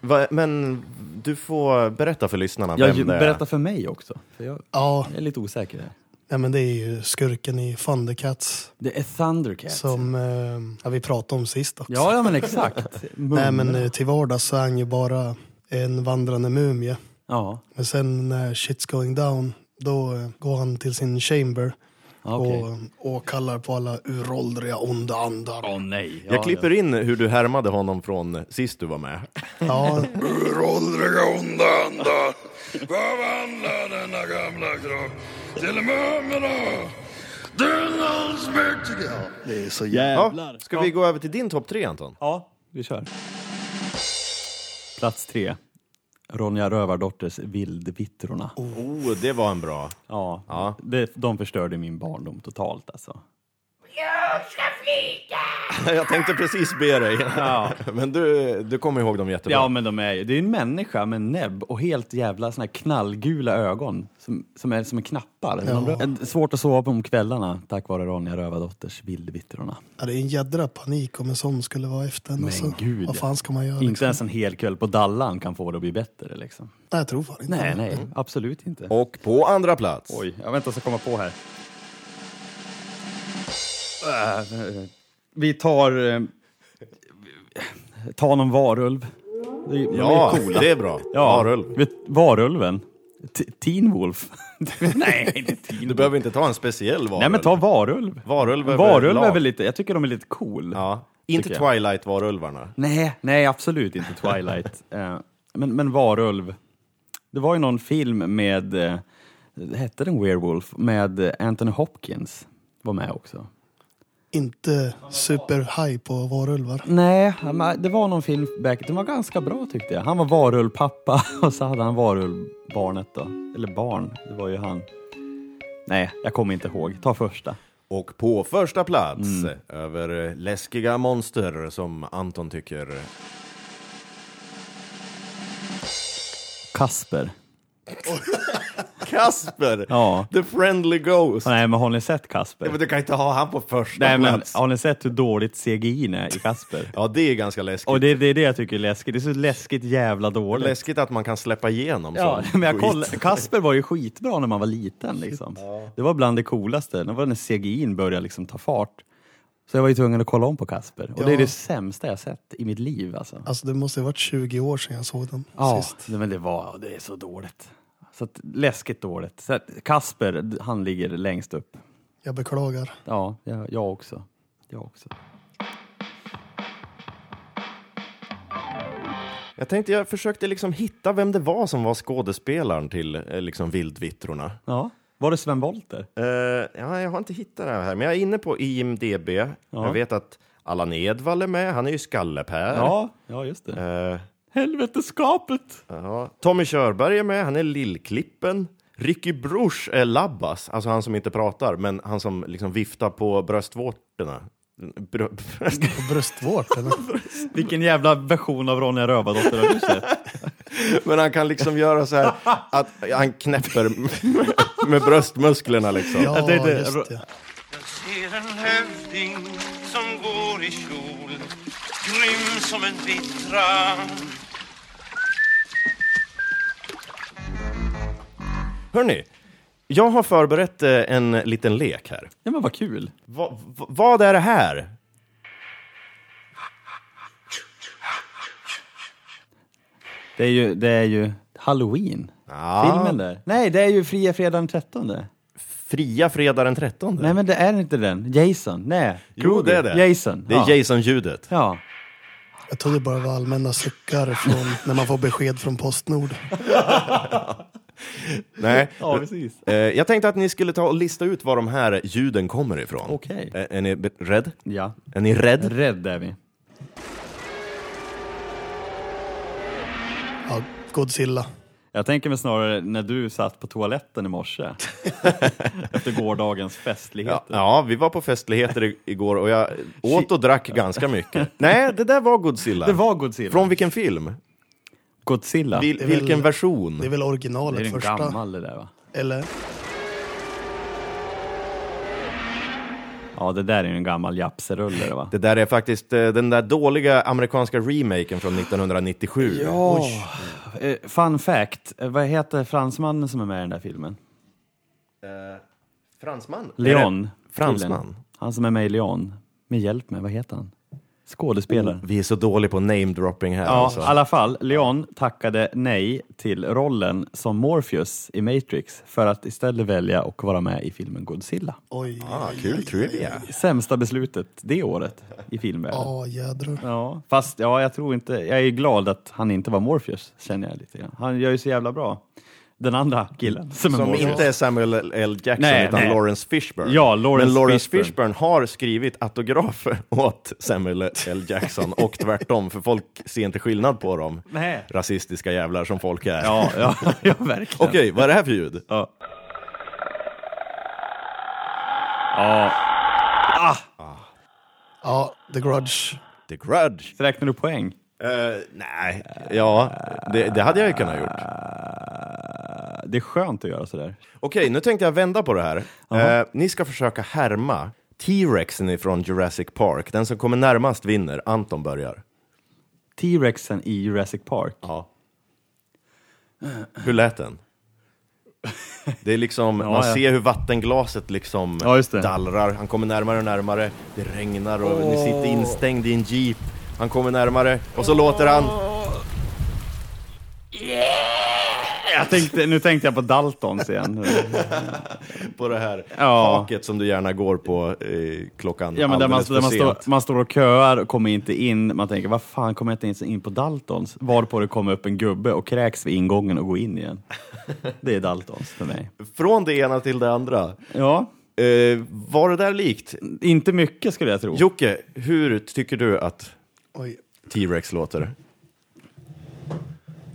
[SPEAKER 2] Va, men du får berätta för lyssnarna
[SPEAKER 3] Jag,
[SPEAKER 2] vem det är.
[SPEAKER 3] berätta för mig också, för jag,
[SPEAKER 1] Ja,
[SPEAKER 3] jag är lite osäker. Här.
[SPEAKER 1] ja, men det är ju skurken i Thundercats
[SPEAKER 3] Det är Thundercats.
[SPEAKER 1] som eh, ja, vi pratade om sist också.
[SPEAKER 3] Ja, Mm. ja, men exakt.
[SPEAKER 1] [LAUGHS] Nej, men
[SPEAKER 3] Mumra.
[SPEAKER 1] eh, till vardags så är han ju bara en vandrande mumie.
[SPEAKER 3] Ja,
[SPEAKER 1] Men sen när shit's going down, då eh, går han till sin chamber
[SPEAKER 3] Ah, okej.
[SPEAKER 1] och, och kallar på alla uråldriga onda andar.
[SPEAKER 3] Åh nej. Ja,
[SPEAKER 2] Jag klipper in hur du härmade honom från sist du var med.
[SPEAKER 1] Ja,
[SPEAKER 4] uråldriga onda andar förvandla denna gamla kropp till mumra. Den allsmäktiga. Det är så jävla...
[SPEAKER 3] Ja.
[SPEAKER 2] Ja,
[SPEAKER 3] Jävlar.
[SPEAKER 2] ska
[SPEAKER 3] Ja.
[SPEAKER 2] vi gå över till din topp tre, Anton?
[SPEAKER 3] Ja, vi kör. Plats tre. Ronja Rövardotters Vildvittrorna.
[SPEAKER 2] Oh, det var en bra. [LAUGHS]
[SPEAKER 3] Ja,
[SPEAKER 2] Ja.
[SPEAKER 3] Det, de förstörde min barndom totalt alltså.
[SPEAKER 2] Jag tänkte precis be dig. [LAUGHS] Men du, du kommer ihåg dem jättebra.
[SPEAKER 3] Ja, men de är ju, det är ju en människa med näbb och helt jävla såna här knallgula ögon som, som är som är knappar. De, en- svårt att sova på om kvällarna tack vare Ronja Rövardotters Vildvittrorna.
[SPEAKER 1] ja, det är en jädra panik om en sån skulle vara efter en.
[SPEAKER 3] Men
[SPEAKER 1] alltså.
[SPEAKER 3] gud.
[SPEAKER 1] Vad fan ska man göra?
[SPEAKER 3] Inte ens en hel kväll på Dallan kan få det att bli bättre liksom.
[SPEAKER 1] Nej, jag tror fan inte
[SPEAKER 3] Nej,
[SPEAKER 1] det.
[SPEAKER 3] nej, absolut inte.
[SPEAKER 2] Och på andra plats.
[SPEAKER 3] Mm. Oj, jag väntar så komma på här. Äh, Vi tar... eh, Ta någon varulv. Det är- de är
[SPEAKER 2] Ja,
[SPEAKER 3] coola.
[SPEAKER 2] det är bra.
[SPEAKER 3] Ja,
[SPEAKER 2] Varulv.
[SPEAKER 3] Vet, varulven. T- Teen Wolf. [LAUGHS] Nej, inte Teen Wolf.
[SPEAKER 2] Du behöver inte ta en speciell varulv.
[SPEAKER 3] Nej, men ta varulv.
[SPEAKER 2] Varulv är
[SPEAKER 3] Varulv
[SPEAKER 2] överlag.
[SPEAKER 3] är väl lite, jag tycker de är lite cool.
[SPEAKER 2] Ja. Inte
[SPEAKER 3] Tycker jag.
[SPEAKER 2] Twilight-varulvarna.
[SPEAKER 3] Nej, nej, absolut inte [LAUGHS] Twilight. Eh, men, men varulv. Det var ju någon film med, eh, hette den Werewolf, med eh, Anthony Hopkins var med också.
[SPEAKER 1] Inte superhaj på varulvar.
[SPEAKER 3] Nej, han- det var någon film back, den var ganska bra tyckte jag. Han var varulvpappa [LAUGHS] och så hade han varulvbarnet då. Eller barn, det var ju han. Nej, jag kommer inte ihåg. Ta första.
[SPEAKER 2] Och på första plats,
[SPEAKER 3] Mm.
[SPEAKER 2] över eh, läskiga monster som Anton tycker... [LAUGHS]
[SPEAKER 3] Kasper.
[SPEAKER 2] Kasper!
[SPEAKER 3] Ja.
[SPEAKER 2] The friendly ghost!
[SPEAKER 3] Nej, men har ni sett Kasper?
[SPEAKER 2] Ja, Men du kan inte ha han på första
[SPEAKER 3] Nej, men
[SPEAKER 2] plats.
[SPEAKER 3] har ni sett hur dåligt CGI är i Kasper?
[SPEAKER 2] Ja, det är ganska läskigt.
[SPEAKER 3] Och det, det är det jag tycker är läskigt. Det är så läskigt jävla dåligt.
[SPEAKER 2] Läskigt att man kan släppa igenom
[SPEAKER 3] Ja,
[SPEAKER 2] sån
[SPEAKER 3] men jag
[SPEAKER 2] skit.
[SPEAKER 3] koll, Kasper var ju skitbra när man var liten. Liksom. Det var bland det coolaste. Det var när CGI'n började liksom ta fart. Så jag var ju tvungen att kolla om på Kasper. Och det är
[SPEAKER 1] Ja.
[SPEAKER 3] det sämsta jag sett i mitt liv. Alltså.
[SPEAKER 1] Alltså det måste ha varit 20 år sedan jag såg den
[SPEAKER 3] Ja,
[SPEAKER 1] sist.
[SPEAKER 3] nej, men det var, det är så dåligt. Så att, läskigt dåligt. Så att, Kasper, d- han ligger längst upp.
[SPEAKER 1] Jag beklagar.
[SPEAKER 3] Ja, jag, jag också. Jag också.
[SPEAKER 2] Jag tänkte, jag försökte liksom hitta vem det var som var skådespelaren till eh, liksom Vildvittrorna.
[SPEAKER 3] Ja. Var det Sven Wollter?
[SPEAKER 2] Eh, ja, jag har inte hittat det här, men jag är inne på IMDB. Jag vet att Allan Edwall är med, han är ju Skalle-Per.
[SPEAKER 3] Ja, ja just det.
[SPEAKER 2] Eh,
[SPEAKER 3] Helveteskapet!
[SPEAKER 2] ja. Tommy Körberg är med, han är Lillklippen. Ricky Bruch är Labbas, alltså han som inte pratar, men han som liksom viftar på bröstvårtorna. Brö bröst-
[SPEAKER 1] På
[SPEAKER 3] [LAUGHS]
[SPEAKER 1] bröstvårtan.
[SPEAKER 3] Vilken jävla version av Ronja Rövardotter har du sett?
[SPEAKER 2] men han kan liksom göra så här att han knäpper med, med bröstmusklerna liksom.
[SPEAKER 1] Ja,
[SPEAKER 3] tänkte-
[SPEAKER 1] just det.
[SPEAKER 5] Jag ser en hövding som går i kjol Grym som en vittra
[SPEAKER 2] Hörni, jag har förberett eh, en liten lek här.
[SPEAKER 3] [LAUGHS] Ja men vad kul.
[SPEAKER 2] Va, va, vad är det här?
[SPEAKER 3] Det är ju, det är ju Halloween.
[SPEAKER 2] Ja.
[SPEAKER 3] Filmen där. Nej, det är ju Fria Fredag den 13.
[SPEAKER 2] Fria fredag den 13.
[SPEAKER 3] Nej, men det är inte den. Jason. Nej.
[SPEAKER 2] jo, det är det.
[SPEAKER 3] Jason.
[SPEAKER 2] Det är
[SPEAKER 3] ja.
[SPEAKER 2] Jason-ljudet.
[SPEAKER 3] Ja.
[SPEAKER 1] Jag trodde bara det var allmänna suckar från när man får besked från Postnord.
[SPEAKER 2] Nej.
[SPEAKER 3] [LAUGHS] ja, precis.
[SPEAKER 2] Eh, Jag tänkte att ni skulle ta och lista ut var de här ljuden kommer ifrån. Eh,
[SPEAKER 3] Okej.
[SPEAKER 2] Är, är ni be- rädd?
[SPEAKER 3] Ja.
[SPEAKER 2] Är ni rädd?
[SPEAKER 3] Rädd är vi.
[SPEAKER 1] Ja, Godzilla.
[SPEAKER 3] Jag tänker mig snarare när du satt på toaletten i [LAUGHS] morse. Efter gårdagens festligheter.
[SPEAKER 2] Ja, ja, vi var på festligheter i- igår och
[SPEAKER 3] [LAUGHS]
[SPEAKER 2] jag åt och drack ganska mycket. Nej, det där var Godzilla.
[SPEAKER 3] Det var Godzilla.
[SPEAKER 2] Från vilken film?
[SPEAKER 3] Godzilla.
[SPEAKER 2] Vil,
[SPEAKER 1] Det är väl-
[SPEAKER 2] vilken version?
[SPEAKER 1] Det är väl originalet
[SPEAKER 3] Det är en
[SPEAKER 1] första?
[SPEAKER 3] gammal det där va?
[SPEAKER 1] Eller?
[SPEAKER 3] Ja, det där är ju en gammal japserulle det, va?
[SPEAKER 2] Det där är faktiskt eh, den där dåliga amerikanska remaken från 1997.
[SPEAKER 3] Oj. Eh, Fun fact, eh, vad heter fransmannen som är med i den där filmen?
[SPEAKER 2] Eh, Fransman? Är
[SPEAKER 3] Leon.
[SPEAKER 2] det- Fransman.
[SPEAKER 3] killen. Han som är med i Leon. Men hjälp mig, vad heter han? Skådespelare.
[SPEAKER 2] Vi är så dåliga på name-dropping här.
[SPEAKER 3] Mm. Ja, i
[SPEAKER 2] alltså.
[SPEAKER 3] alla fall. Leon tackade nej till rollen som Morpheus i Matrix för att istället välja att vara med i filmen Godzilla.
[SPEAKER 1] Oj.
[SPEAKER 2] Ah, kul trivia.
[SPEAKER 3] Sämsta beslutet det året i filmvärlden.
[SPEAKER 1] Ja, jädrar.
[SPEAKER 3] Ja, fast ja, jag tror inte... Jag är glad att han inte var Morpheus, känner jag lite grann. Han gör ju så jävla bra. Den andra killen som, är
[SPEAKER 2] Som
[SPEAKER 3] Morpheus.
[SPEAKER 2] inte är Samuel L. Jackson
[SPEAKER 3] Nej,
[SPEAKER 2] utan
[SPEAKER 3] nej.
[SPEAKER 2] Lawrence Fishburne.
[SPEAKER 3] Ja, Lawrence
[SPEAKER 2] Men Lawrence
[SPEAKER 3] Fishburne.
[SPEAKER 2] Fishburne. har skrivit autografer [LAUGHS] åt Samuel L. Jackson och tvärtom, för folk ser inte skillnad på dem.
[SPEAKER 3] Nej.
[SPEAKER 2] Rasistiska jävlar som folk är.
[SPEAKER 3] Ja, ja, [LAUGHS] ja verkligen.
[SPEAKER 2] Okej, vad är det här för ljud?
[SPEAKER 3] Ja. ja.
[SPEAKER 1] Ja, The Grudge.
[SPEAKER 2] The Grudge.
[SPEAKER 3] Så räknar du poäng?
[SPEAKER 2] Eh, nej, ja, det, det hade jag ju kunnat gjort.
[SPEAKER 3] Eh, Det är skönt att göra sådär.
[SPEAKER 2] Okej, nu tänkte jag vända på det här. Eh, ni ska försöka härma T-Rexen från Jurassic Park. Den som kommer närmast vinner. Anton börjar.
[SPEAKER 3] T-rexen i Jurassic Park.
[SPEAKER 2] Ja. Hur lät den? Det är liksom, man
[SPEAKER 3] ja.
[SPEAKER 2] ser hur vattenglaset liksom
[SPEAKER 3] Ja, just det.
[SPEAKER 2] dallrar. Han kommer närmare och närmare. Det regnar och ni sitter instängd i en jeep. Han kommer närmare och så låter han...
[SPEAKER 3] Jag tänkte, nu tänkte jag på Daltons igen. [LAUGHS]
[SPEAKER 2] på det här
[SPEAKER 3] Ja.
[SPEAKER 2] taket som du gärna går på eh, klockan
[SPEAKER 3] Ja, men där man,
[SPEAKER 2] alldeles
[SPEAKER 3] där man,
[SPEAKER 2] för
[SPEAKER 3] står,
[SPEAKER 2] sent.
[SPEAKER 3] man står och köar och kommer inte in. Man tänker, vad fan kommer jag inte ens in på Daltons? Varpå det kommer upp en gubbe och kräks vid ingången och går in igen. Det är Daltons för mig.
[SPEAKER 2] Från det ena till det andra.
[SPEAKER 3] Ja,
[SPEAKER 2] Eh, var det där likt?
[SPEAKER 3] inte mycket skulle jag tro.
[SPEAKER 2] Jocke, hur tycker du att
[SPEAKER 1] Oj.
[SPEAKER 2] T-Rex låter?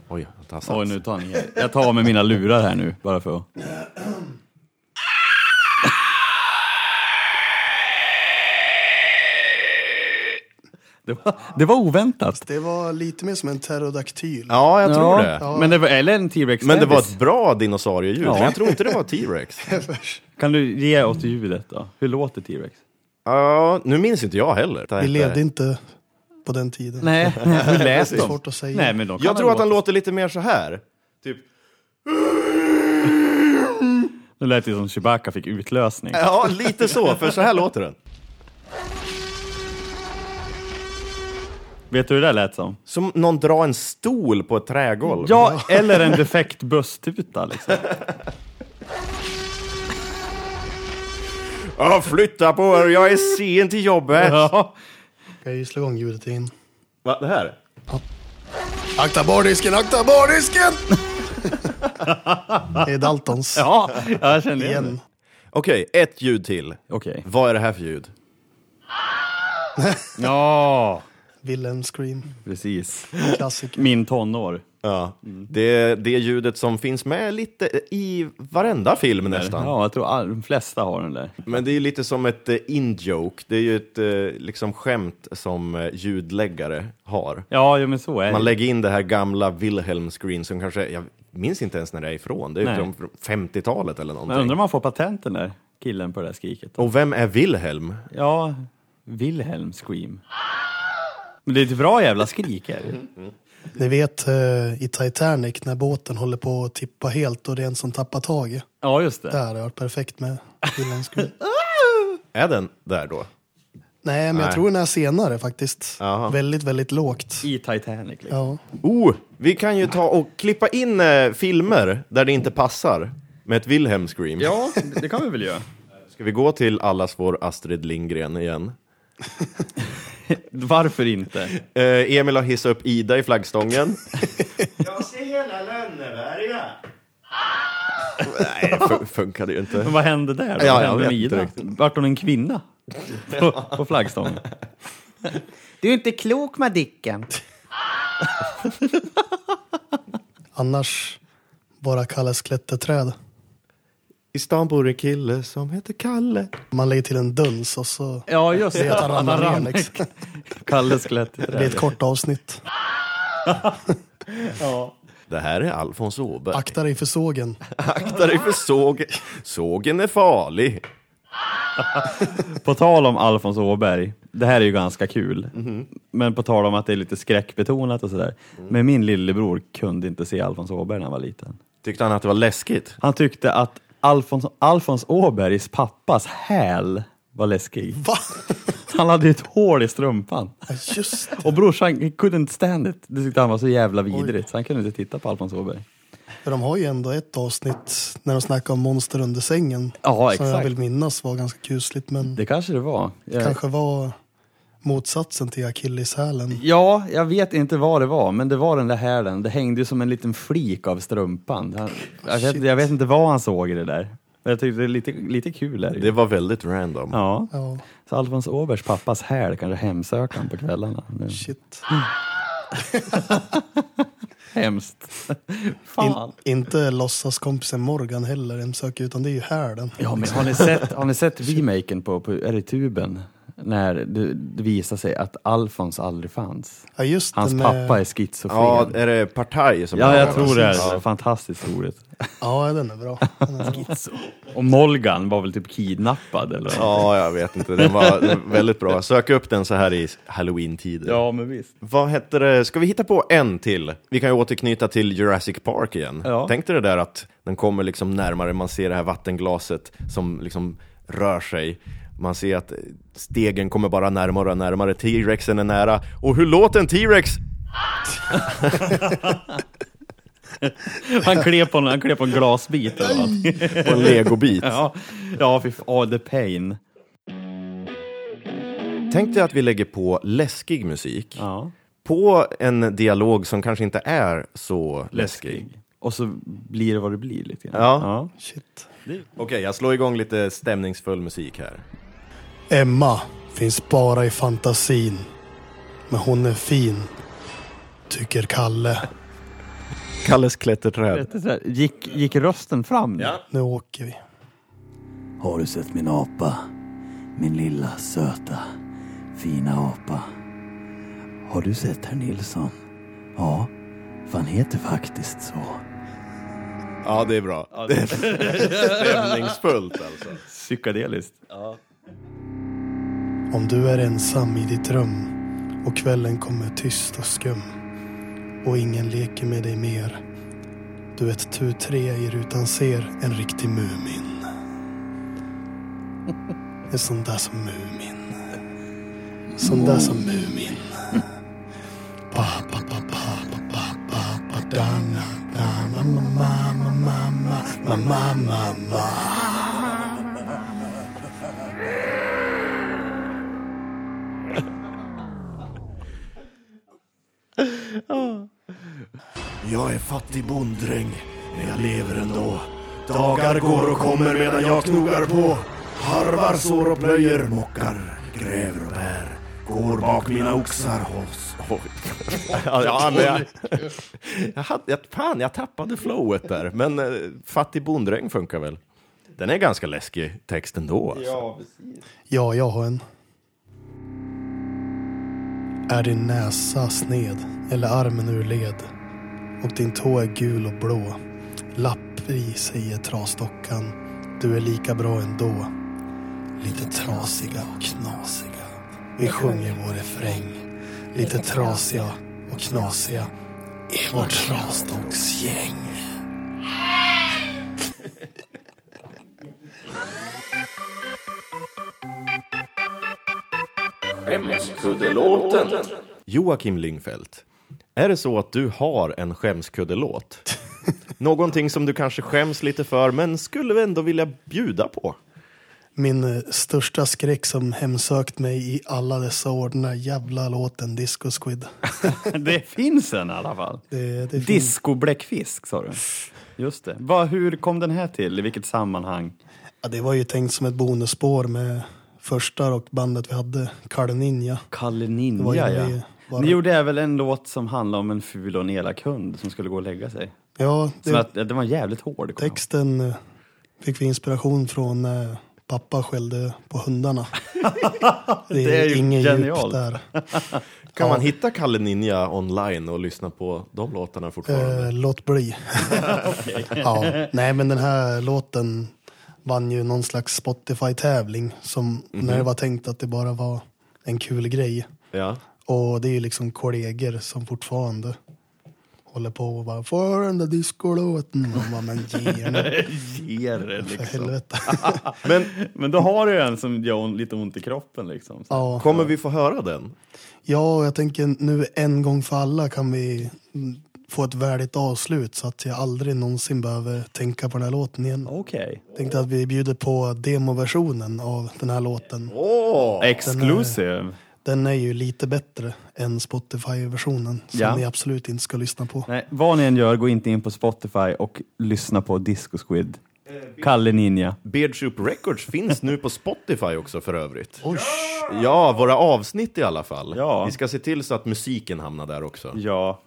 [SPEAKER 2] Oj, han tassar.
[SPEAKER 3] Oj, nu tar ni Jag tar av mig mina lurar här nu, bara för att... Det var, det var oväntat.
[SPEAKER 1] Det var lite mer som en pterodaktyl.
[SPEAKER 2] Ja, jag tror det.
[SPEAKER 3] Men det var, eller en T-Rex
[SPEAKER 2] Men det var
[SPEAKER 3] bebis.
[SPEAKER 2] ett bra dinosaurieljud,
[SPEAKER 3] Ja.
[SPEAKER 2] men jag tror inte det var T-Rex.
[SPEAKER 3] Kan du ge åt ljudet då? Hur låter T-Rex?
[SPEAKER 2] Ja, nu minns inte jag heller.
[SPEAKER 1] Vi levde inte på den tiden.
[SPEAKER 3] Nej, [LAUGHS] hur lät
[SPEAKER 1] Det är svårt att säga.
[SPEAKER 3] Nej, men de kan
[SPEAKER 2] Jag
[SPEAKER 3] väl
[SPEAKER 2] tror att han
[SPEAKER 3] låta-
[SPEAKER 2] låter lite mer så här. Typ,
[SPEAKER 3] Nu lät det som Chewbacca fick utlösning.
[SPEAKER 2] ja, lite så, för så här låter den.
[SPEAKER 3] Vet du hur det där lät som?
[SPEAKER 2] Som någon drar en stol på ett trägolv.
[SPEAKER 3] Ja, [LAUGHS] eller en defekt
[SPEAKER 2] [LAUGHS]
[SPEAKER 3] busstuta liksom.
[SPEAKER 2] Ja, flytta på er, jag är sen till jobbet.
[SPEAKER 3] Ja.
[SPEAKER 1] Kan jag ju slå igång ljudet igen.
[SPEAKER 2] Va, det här?
[SPEAKER 1] Akta bardisken, akta bardisken! det är Daltons.
[SPEAKER 3] ja, jag kände igen
[SPEAKER 1] Igen.
[SPEAKER 3] det.
[SPEAKER 2] Okej, ett ljud till.
[SPEAKER 3] Okej.
[SPEAKER 2] Vad är det här för ljud?
[SPEAKER 3] Ja,
[SPEAKER 1] Willem Scream.
[SPEAKER 3] precis.
[SPEAKER 1] Klassiker.
[SPEAKER 3] Min tonår.
[SPEAKER 2] Ja, det, det ljudet som finns med lite i varenda film nästan.
[SPEAKER 3] Ja, jag tror all, de flesta har den där.
[SPEAKER 2] Men det är ju lite som ett eh, in-joke. Det är ju ett eh, liksom skämt som eh, ljudläggare har.
[SPEAKER 3] Ja, jo, men så är
[SPEAKER 2] Man
[SPEAKER 3] det.
[SPEAKER 2] lägger in det här gamla Wilhelm Screen som kanske, jag minns inte ens när det är ifrån. Det är
[SPEAKER 3] Nej.
[SPEAKER 2] ju från från 50-talet eller
[SPEAKER 3] Men undrar
[SPEAKER 2] någonting.
[SPEAKER 3] om han får patent den där killen på det där skriket.
[SPEAKER 2] Och vem är Wilhelm?
[SPEAKER 3] Ja, Wilhelm Scream. Men det är ett bra jävla skrik. Är det?
[SPEAKER 1] Ni vet eh, i Titanic när båten håller på att tippa helt och det är en som tappar taget.
[SPEAKER 3] Ja, just det.
[SPEAKER 1] Där har jag varit perfekt med Willem Scream.
[SPEAKER 2] Är den där då?
[SPEAKER 1] Nej, men
[SPEAKER 2] Nej.
[SPEAKER 1] jag tror den är senare faktiskt.
[SPEAKER 2] Jaha.
[SPEAKER 1] Väldigt, väldigt lågt.
[SPEAKER 3] I Titanic liksom.
[SPEAKER 1] Ja.
[SPEAKER 2] Oh, vi kan ju ta och klippa in eh, filmer där det inte passar med ett Wilhelm Scream.
[SPEAKER 3] Ja, det kan vi väl göra.
[SPEAKER 2] Ska vi gå till allas vår Astrid Lindgren igen?
[SPEAKER 3] Varför inte?
[SPEAKER 2] Eh, Emil har hissat upp Ida i flaggstången. [LAUGHS] Jag ser hela Lönneberga. Nej, fun- funkade ju inte.
[SPEAKER 3] Men vad hände där? Vad
[SPEAKER 2] Ja, jag
[SPEAKER 3] hände
[SPEAKER 2] vet
[SPEAKER 3] med
[SPEAKER 2] inte
[SPEAKER 3] Ida?
[SPEAKER 2] riktigt.
[SPEAKER 3] Vart hon en kvinna? På, på flaggstången?
[SPEAKER 6] Du är inte klok, Madicken.
[SPEAKER 1] Annars bara kallas klätterträd.
[SPEAKER 2] I stan bor en kille som heter Kalle.
[SPEAKER 1] Man lägger till en duns och så
[SPEAKER 3] Ja, just det.
[SPEAKER 1] vet att han ramlar ner.
[SPEAKER 3] Ramnek. [LAUGHS]
[SPEAKER 1] Liksom.
[SPEAKER 3] Kalle skelett.
[SPEAKER 1] Det blir ett kort avsnitt.
[SPEAKER 2] Det här är Alfons Åberg.
[SPEAKER 1] Akta dig för sågen.
[SPEAKER 2] Akta dig för såg. sågen är farlig.
[SPEAKER 3] På tal om Alfons Åberg, det här är ju ganska kul. Men på tal om att det är lite skräckbetonat och sådär. Men min lillebror kunde inte se Alfons Åberg när han var liten.
[SPEAKER 2] Tyckte han att det var läskigt?
[SPEAKER 3] Han tyckte att Alfons, Alfons Åbergs pappas häl var läskig.
[SPEAKER 1] Va?
[SPEAKER 3] Han hade ju ett hål i strumpan.
[SPEAKER 1] Ja, Just det.
[SPEAKER 3] Och brorsan couldn't stand it. Det tyckte han var så jävla vidrigt så han kunde inte titta på Alfons Åberg.
[SPEAKER 1] De har ju ändå ett avsnitt när de snackar om monster under sängen.
[SPEAKER 3] Ja,
[SPEAKER 1] Som jag
[SPEAKER 3] exakt.
[SPEAKER 1] vill minnas var ganska kusligt. Men
[SPEAKER 3] Det kanske det var. Jag,
[SPEAKER 1] kanske var motsatsen till akilleshälen.
[SPEAKER 3] Ja, jag vet inte vad det var, men det var den där hälen. Det hängde ju som en liten flik av strumpan. Han, jag, vet,
[SPEAKER 1] Shit.
[SPEAKER 3] jag vet inte vad han såg i det där. Men jag tyckte det är lite, lite kul. Är det.
[SPEAKER 2] Det
[SPEAKER 3] ju.
[SPEAKER 2] var väldigt random.
[SPEAKER 3] Ja.
[SPEAKER 1] Ja,
[SPEAKER 3] Så Alfons Åbergs pappas häl kanske hemsöker han på kvällarna. Nu.
[SPEAKER 1] shit.
[SPEAKER 3] Hemskt. [LAUGHS] Fan.
[SPEAKER 1] In, inte låtsaskompisen Morgan heller en söker utan det är ju hälen.
[SPEAKER 3] Ja, men har ni sett, har ni sett remaken på, på är det tuben? När det, det visar sig att Alfons aldrig fanns.
[SPEAKER 1] Ja, just
[SPEAKER 3] Hans
[SPEAKER 1] det med,
[SPEAKER 3] pappa är schizofren.
[SPEAKER 2] Ja,
[SPEAKER 3] Ja,
[SPEAKER 2] är det Partaj som
[SPEAKER 3] jag tror det.
[SPEAKER 2] Ja.
[SPEAKER 3] Är fantastiskt roligt.
[SPEAKER 1] Ja, den är
[SPEAKER 3] [LAUGHS]
[SPEAKER 1] bra. Den är bra.
[SPEAKER 3] Och Molgan var väl typ kidnappad eller?
[SPEAKER 2] Ja, jag vet inte. Den var väldigt bra. Sök upp den så här i halloween-tider.
[SPEAKER 3] men visst.
[SPEAKER 2] Vad hette det? Ska vi hitta på en till? Vi kan ju återknyta till Jurassic Park igen.
[SPEAKER 3] Ja.
[SPEAKER 2] Tänk dig det där att den kommer liksom närmare, man ser det här vattenglaset som liksom rör sig. Man ser att stegen kommer bara närmare och närmare, T-rexen är nära. Och hur låter en T-rex?
[SPEAKER 3] [LAUGHS] Han klev på en, han klev på en glasbit eller något.
[SPEAKER 2] På en legobit.
[SPEAKER 3] [LAUGHS] Ja, ja fy fan, oh, the pain.
[SPEAKER 2] Tänk dig att vi lägger på läskig musik
[SPEAKER 3] Ja,
[SPEAKER 2] på en dialog som kanske inte är så läskig.
[SPEAKER 3] Och så blir det vad det blir lite grann.
[SPEAKER 2] Ja.
[SPEAKER 1] Shit.
[SPEAKER 2] Okej, jag slår igång lite stämningsfull musik här.
[SPEAKER 1] Emma finns bara i fantasin. Men hon är fin, tycker Kalle.
[SPEAKER 2] Kalles klätterträd.
[SPEAKER 3] Det är så här, Gick, gick rösten fram nu?
[SPEAKER 1] Nu åker vi.
[SPEAKER 7] Har du sett min apa? Min lilla söta fina apa. Har du sett herr Nilsson? Ja, för han heter faktiskt så.
[SPEAKER 2] Ja, det är bra. Det är stämningsfullt alltså.
[SPEAKER 3] Psykedeliskt.
[SPEAKER 1] Om du är ensam i ditt rum och kvällen kommer tyst och skum och ingen leker med dig mer. Du ett tu tre i rutan ser en riktig Mumin. En sån där som Mumin. Sån där som Mumin. Pa, pa, pa, pa, pa, pa, pa, pa, da, na, na, ma, ma, ma, ma, ma, ma, ma, ma, ma.
[SPEAKER 8] Jag är fattig bonddräng, men jag lever ändå. Dagar går och kommer medan jag knogar på. Harvar, sår och plöjer, mockar, gräver och bär. Går bak mina oxar, hålls.
[SPEAKER 2] Ja, ja, men [LAUGHS] jag, jag, hade, jag, fan, jag tappade flowet där. Men eh, Fattig bonddräng funkar väl? Den är ganska läskig text ändå. Alltså.
[SPEAKER 1] Ja, jag har en. Är din näsa sned eller armen ur led och din tå är gul och blå. Lapp i säger trasdockan. Du är lika bra ändå. Lite trasiga och knasiga. Vi sjunger vår refräng. Lite trasiga och knasiga i vårt trasdocksgäng.
[SPEAKER 9] Skämskuddelåten.
[SPEAKER 2] Joakim Lingfeldt, är det så att du har en skämskuddelåt? Någonting som du kanske skäms lite för, men skulle ändå vilja bjuda på?
[SPEAKER 1] Min eh, största skräck som hemsökt mig i alla dessa år, den där jävla låten Disco Squid.
[SPEAKER 3] [LAUGHS] Det finns en i alla fall.
[SPEAKER 1] Det, det finns-
[SPEAKER 3] Disco bläckfisk sa du. Just det. Vad- hur kom den här till? I vilket sammanhang?
[SPEAKER 1] ja, det var ju tänkt som ett bonusspår med första rockbandet vi hade, Kalle Ninja.
[SPEAKER 3] Kalle
[SPEAKER 1] Det var
[SPEAKER 3] Ninja,
[SPEAKER 1] ju
[SPEAKER 3] ja.
[SPEAKER 1] det bara.
[SPEAKER 3] Ni gjorde även en låt som handlade om en ful och en elak hund som skulle gå och lägga sig.
[SPEAKER 1] Ja,
[SPEAKER 3] Som
[SPEAKER 1] det,
[SPEAKER 3] att, den var jävligt hård. kommer jag ihåg.
[SPEAKER 1] texten eh, fick vi inspiration från eh, pappa skällde på
[SPEAKER 3] [LAUGHS]
[SPEAKER 1] hundarna. det,
[SPEAKER 3] Det är ju
[SPEAKER 1] ingen
[SPEAKER 3] genialt.
[SPEAKER 1] djup där.
[SPEAKER 2] Kan man hitta Kalle Ninja online och lyssna på de låtarna fortfarande?
[SPEAKER 1] Eh, låt
[SPEAKER 3] [LAUGHS]
[SPEAKER 1] bli. [LAUGHS] ja. Nej, men den här låten vann ju någon slags Spotify-tävling som
[SPEAKER 3] Mhm.
[SPEAKER 1] när det var tänkt att det bara var en kul grej.
[SPEAKER 2] Ja.
[SPEAKER 1] Och det är ju liksom kollegor som fortfarande håller på och bara Får jag den där discolåten? Och bara, men ge
[SPEAKER 3] [LAUGHS]
[SPEAKER 1] mig
[SPEAKER 3] Ger det,
[SPEAKER 1] för
[SPEAKER 3] liksom.
[SPEAKER 1] helvete. [LAUGHS]
[SPEAKER 2] Men
[SPEAKER 3] Men då har du en som gör on- lite ont i kroppen liksom. Så.
[SPEAKER 1] ja.
[SPEAKER 2] kommer vi få höra den?
[SPEAKER 1] ja, och jag tänker nu en gång för alla kan vi mm, få ett värdigt avslut så att jag aldrig någonsin behöver tänka på den här låten igen.
[SPEAKER 3] Ah, Okej.
[SPEAKER 1] Tänkte att vi bjuder på demoversionen av den här låten.
[SPEAKER 3] Exclusive.
[SPEAKER 1] Den är ju lite bättre än Spotify-versionen som
[SPEAKER 3] Ja.
[SPEAKER 1] ni absolut inte ska lyssna på.
[SPEAKER 3] Nej, vad ni än gör, gå inte in på Spotify och lyssna på Disco Squid. Kalle Ninja.
[SPEAKER 2] Beard Soup Records finns nu på Spotify också för övrigt. Ja, våra avsnitt i alla fall.
[SPEAKER 3] Ja.
[SPEAKER 2] Vi ska se till så att musiken hamnar där också.
[SPEAKER 3] Ja.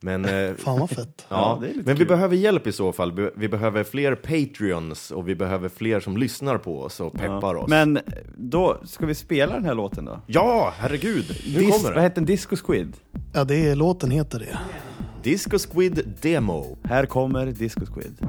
[SPEAKER 2] Men, eh,
[SPEAKER 1] Fan vad fett.
[SPEAKER 2] ja,
[SPEAKER 3] det är lite
[SPEAKER 2] men vi
[SPEAKER 3] kul.
[SPEAKER 2] behöver hjälp i så fall. Vi- Vi behöver fler Patreons och vi behöver fler som lyssnar på oss och peppar oss.
[SPEAKER 3] Men då, ska vi spela den här låten då?
[SPEAKER 2] Ja, herregud! Nu
[SPEAKER 3] Dis-
[SPEAKER 2] kommer
[SPEAKER 3] Vad
[SPEAKER 2] den.
[SPEAKER 3] heter den? Disco Squid?
[SPEAKER 1] Ja, det är, låten heter det.
[SPEAKER 2] Disco Squid Demo.
[SPEAKER 3] Här kommer Disco Squid.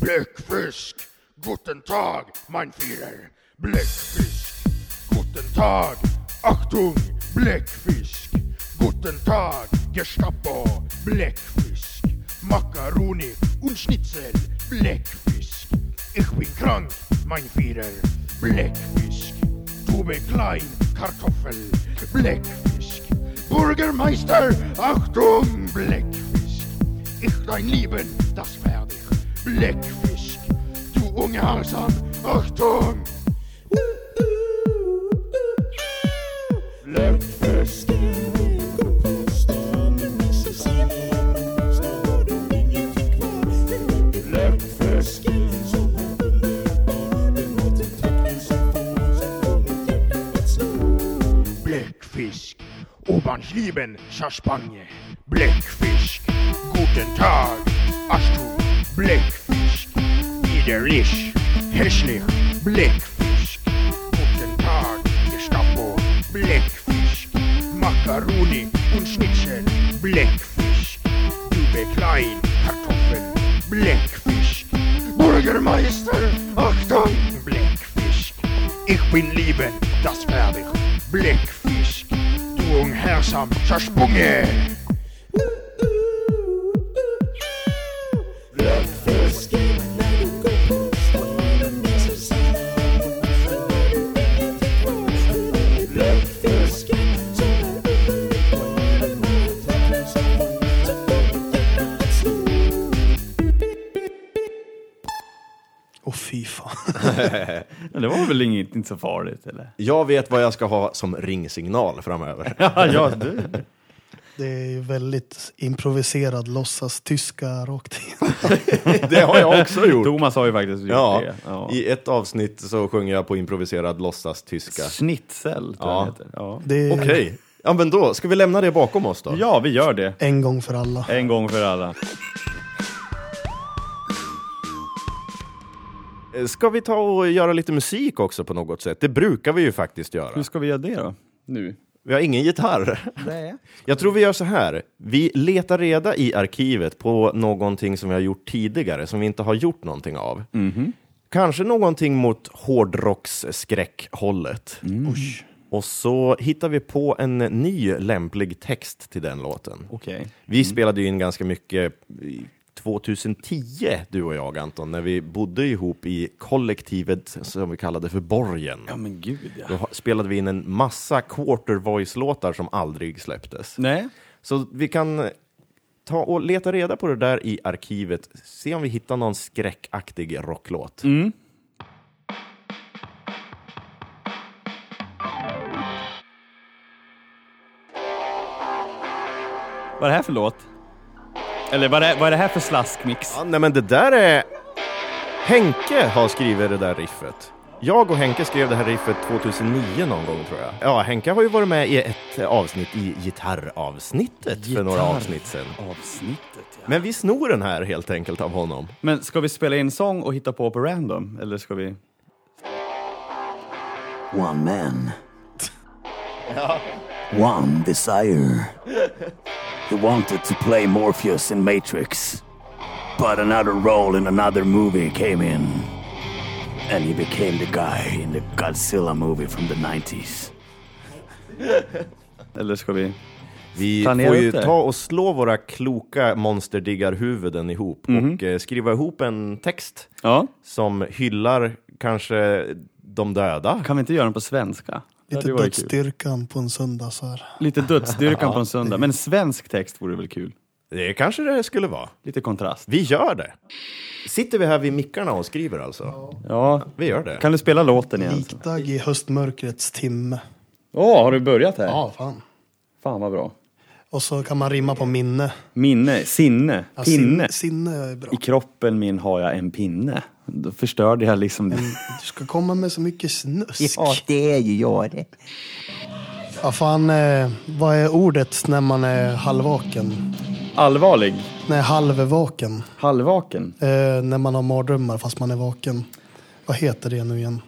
[SPEAKER 4] Bläckfisk, guten Tag, mein Führer. Bläckfisk, guten Tag. Achtung, Bläckfisk, guten Tag. Gestapo, Bläckfisk. Macaroni und Schnitzel, Bläckfisk. Ich bin krank, mein Führer. Bläckfisk, Tube Klein, Kartoffel, Bläckfisk. Bürgermeister, Achtung, Bläckfisk. Ich dein Lieben, das werde ich. Bläckfisk, du ungehorsam, Achtung! Bläckfisk, Bläckfisk, Bläckfisk, Obernschlieben, Schaspanje, Bläckfisk, guten Tag, Astu, Bläckfisk, widerlich, hässlich, Bläckfisk, guten Tag, Gestapo, Bläckfisk, Macaroni und Schnitzel, Bläckfisch, Übe Klein, Kartoffeln, Bläckfisch, Bürgermeister, Achtung, Bläckfisch, ich bin lieben, das werde ich, Bläckfisch, du unhersam, zersprunge.
[SPEAKER 1] Åh fy fan.
[SPEAKER 3] Men Det var väl inget, inte så farligt eller?
[SPEAKER 2] Jag vet vad jag ska ha som ringsignal framöver.
[SPEAKER 3] Ja, ja [LAUGHS] du.
[SPEAKER 1] Det är ju väldigt improviserad låtsas tyska rakt in.
[SPEAKER 2] [LAUGHS] Det har jag också
[SPEAKER 3] [LAUGHS]
[SPEAKER 2] gjort.
[SPEAKER 3] Thomas har ju faktiskt gjort
[SPEAKER 2] Ja,
[SPEAKER 3] det. Ja.
[SPEAKER 2] i ett avsnitt så sjunger jag på improviserad låtsas-tyska.
[SPEAKER 3] Schnitzel tror
[SPEAKER 2] Ja.
[SPEAKER 3] jag det heter. Ja.
[SPEAKER 1] Det är
[SPEAKER 2] Okej, Eh, ja men då, ska vi lämna det bakom oss då?
[SPEAKER 3] ja, vi gör det.
[SPEAKER 1] en gång för alla.
[SPEAKER 3] En gång för alla.
[SPEAKER 2] Eh, Ska vi ta och göra lite musik också på något sätt? Det brukar vi ju faktiskt
[SPEAKER 3] Hur
[SPEAKER 2] göra.
[SPEAKER 3] ska vi göra det då? Nu?
[SPEAKER 2] Vi har ingen gitarr. [LAUGHS]
[SPEAKER 6] Nej.
[SPEAKER 2] Jag tror vi gör så här. Vi letar reda i arkivet på någonting som vi har gjort tidigare, som vi inte har gjort någonting av. Kanske någonting mot hårdrocksskräckhållet. Och så hittar vi på en ny lämplig text till den låten.
[SPEAKER 3] Okej.
[SPEAKER 2] Vi spelade ju in ganska mycket i 2010, du och jag Anton, när vi bodde ihop i kollektivet som vi kallade för Borgen.
[SPEAKER 3] Ja men gud ja.
[SPEAKER 2] Då ha- spelade vi in en massa quarter voice-låtar som aldrig släpptes.
[SPEAKER 3] Nej,
[SPEAKER 2] Så vi kan ta och leta reda på det där i arkivet, se om vi hittar någon skräckaktig rocklåt.
[SPEAKER 3] vad är det här för låt? Eller vad är, vad är det här för slaskmix?
[SPEAKER 2] Ja, nej men det där är... Henke har skrivit det där riffet. Jag och Henke skrev det här riffet 2009 någon gång tror jag. Ja, Henke har ju varit med i ett avsnitt i gitarravsnittet för några avsnitt sedan.
[SPEAKER 3] Avsnittet ja.
[SPEAKER 2] Men vi snor den här helt enkelt av honom.
[SPEAKER 3] Men ska vi spela in sång och hitta på på random? Eller ska vi?
[SPEAKER 7] One man. One desire. He wanted to play Morpheus in Matrix. But another role in another movie came in. And he became the guy in the Godzilla movie from the 90s.
[SPEAKER 3] Eller ska vi?
[SPEAKER 2] Vi
[SPEAKER 3] Planera
[SPEAKER 2] får
[SPEAKER 3] upp
[SPEAKER 2] ju
[SPEAKER 3] det.
[SPEAKER 2] ta och slå våra kloka monsterdiggarhuvuden ihop
[SPEAKER 3] Mhm.
[SPEAKER 2] och eh, skriva ihop en text
[SPEAKER 3] Ja.
[SPEAKER 2] som hyllar kanske de döda.
[SPEAKER 3] Kan vi inte göra den på svenska?
[SPEAKER 1] Lite
[SPEAKER 3] Det hade ju varit kul.
[SPEAKER 1] dödsstyrkan på en söndag så här.
[SPEAKER 3] Lite dödsdyrkan [LAUGHS] på en söndag. Men svensk text vore väl kul?
[SPEAKER 2] Det kanske det skulle vara.
[SPEAKER 3] Lite kontrast.
[SPEAKER 2] Vi gör det. Sitter vi här vid mickarna och skriver alltså?
[SPEAKER 3] Ja.
[SPEAKER 2] Vi gör det.
[SPEAKER 3] Kan du spela låten igen? sen?
[SPEAKER 1] Likdag i höstmörkrets timme.
[SPEAKER 3] Åh, har du börjat här?
[SPEAKER 1] Ja, fan.
[SPEAKER 3] Fan vad bra.
[SPEAKER 1] Och så kan man rimma på minne.
[SPEAKER 3] Minne, sinne,
[SPEAKER 1] Ja, sin-
[SPEAKER 3] pinne.
[SPEAKER 1] Sinne är bra.
[SPEAKER 3] I kroppen min har jag en pinne. Då förstörde jag liksom det.
[SPEAKER 1] Du ska komma med så mycket snusk.
[SPEAKER 6] Ja, det är ju jag det.
[SPEAKER 1] Ja, fan, eh, vad är ordet när man är halvvaken?
[SPEAKER 3] Allvarlig.
[SPEAKER 1] Nej, halvvaken.
[SPEAKER 3] Halvvaken.
[SPEAKER 1] Eh, när man har mardrömmar fast man är vaken. Vad heter det nu igen?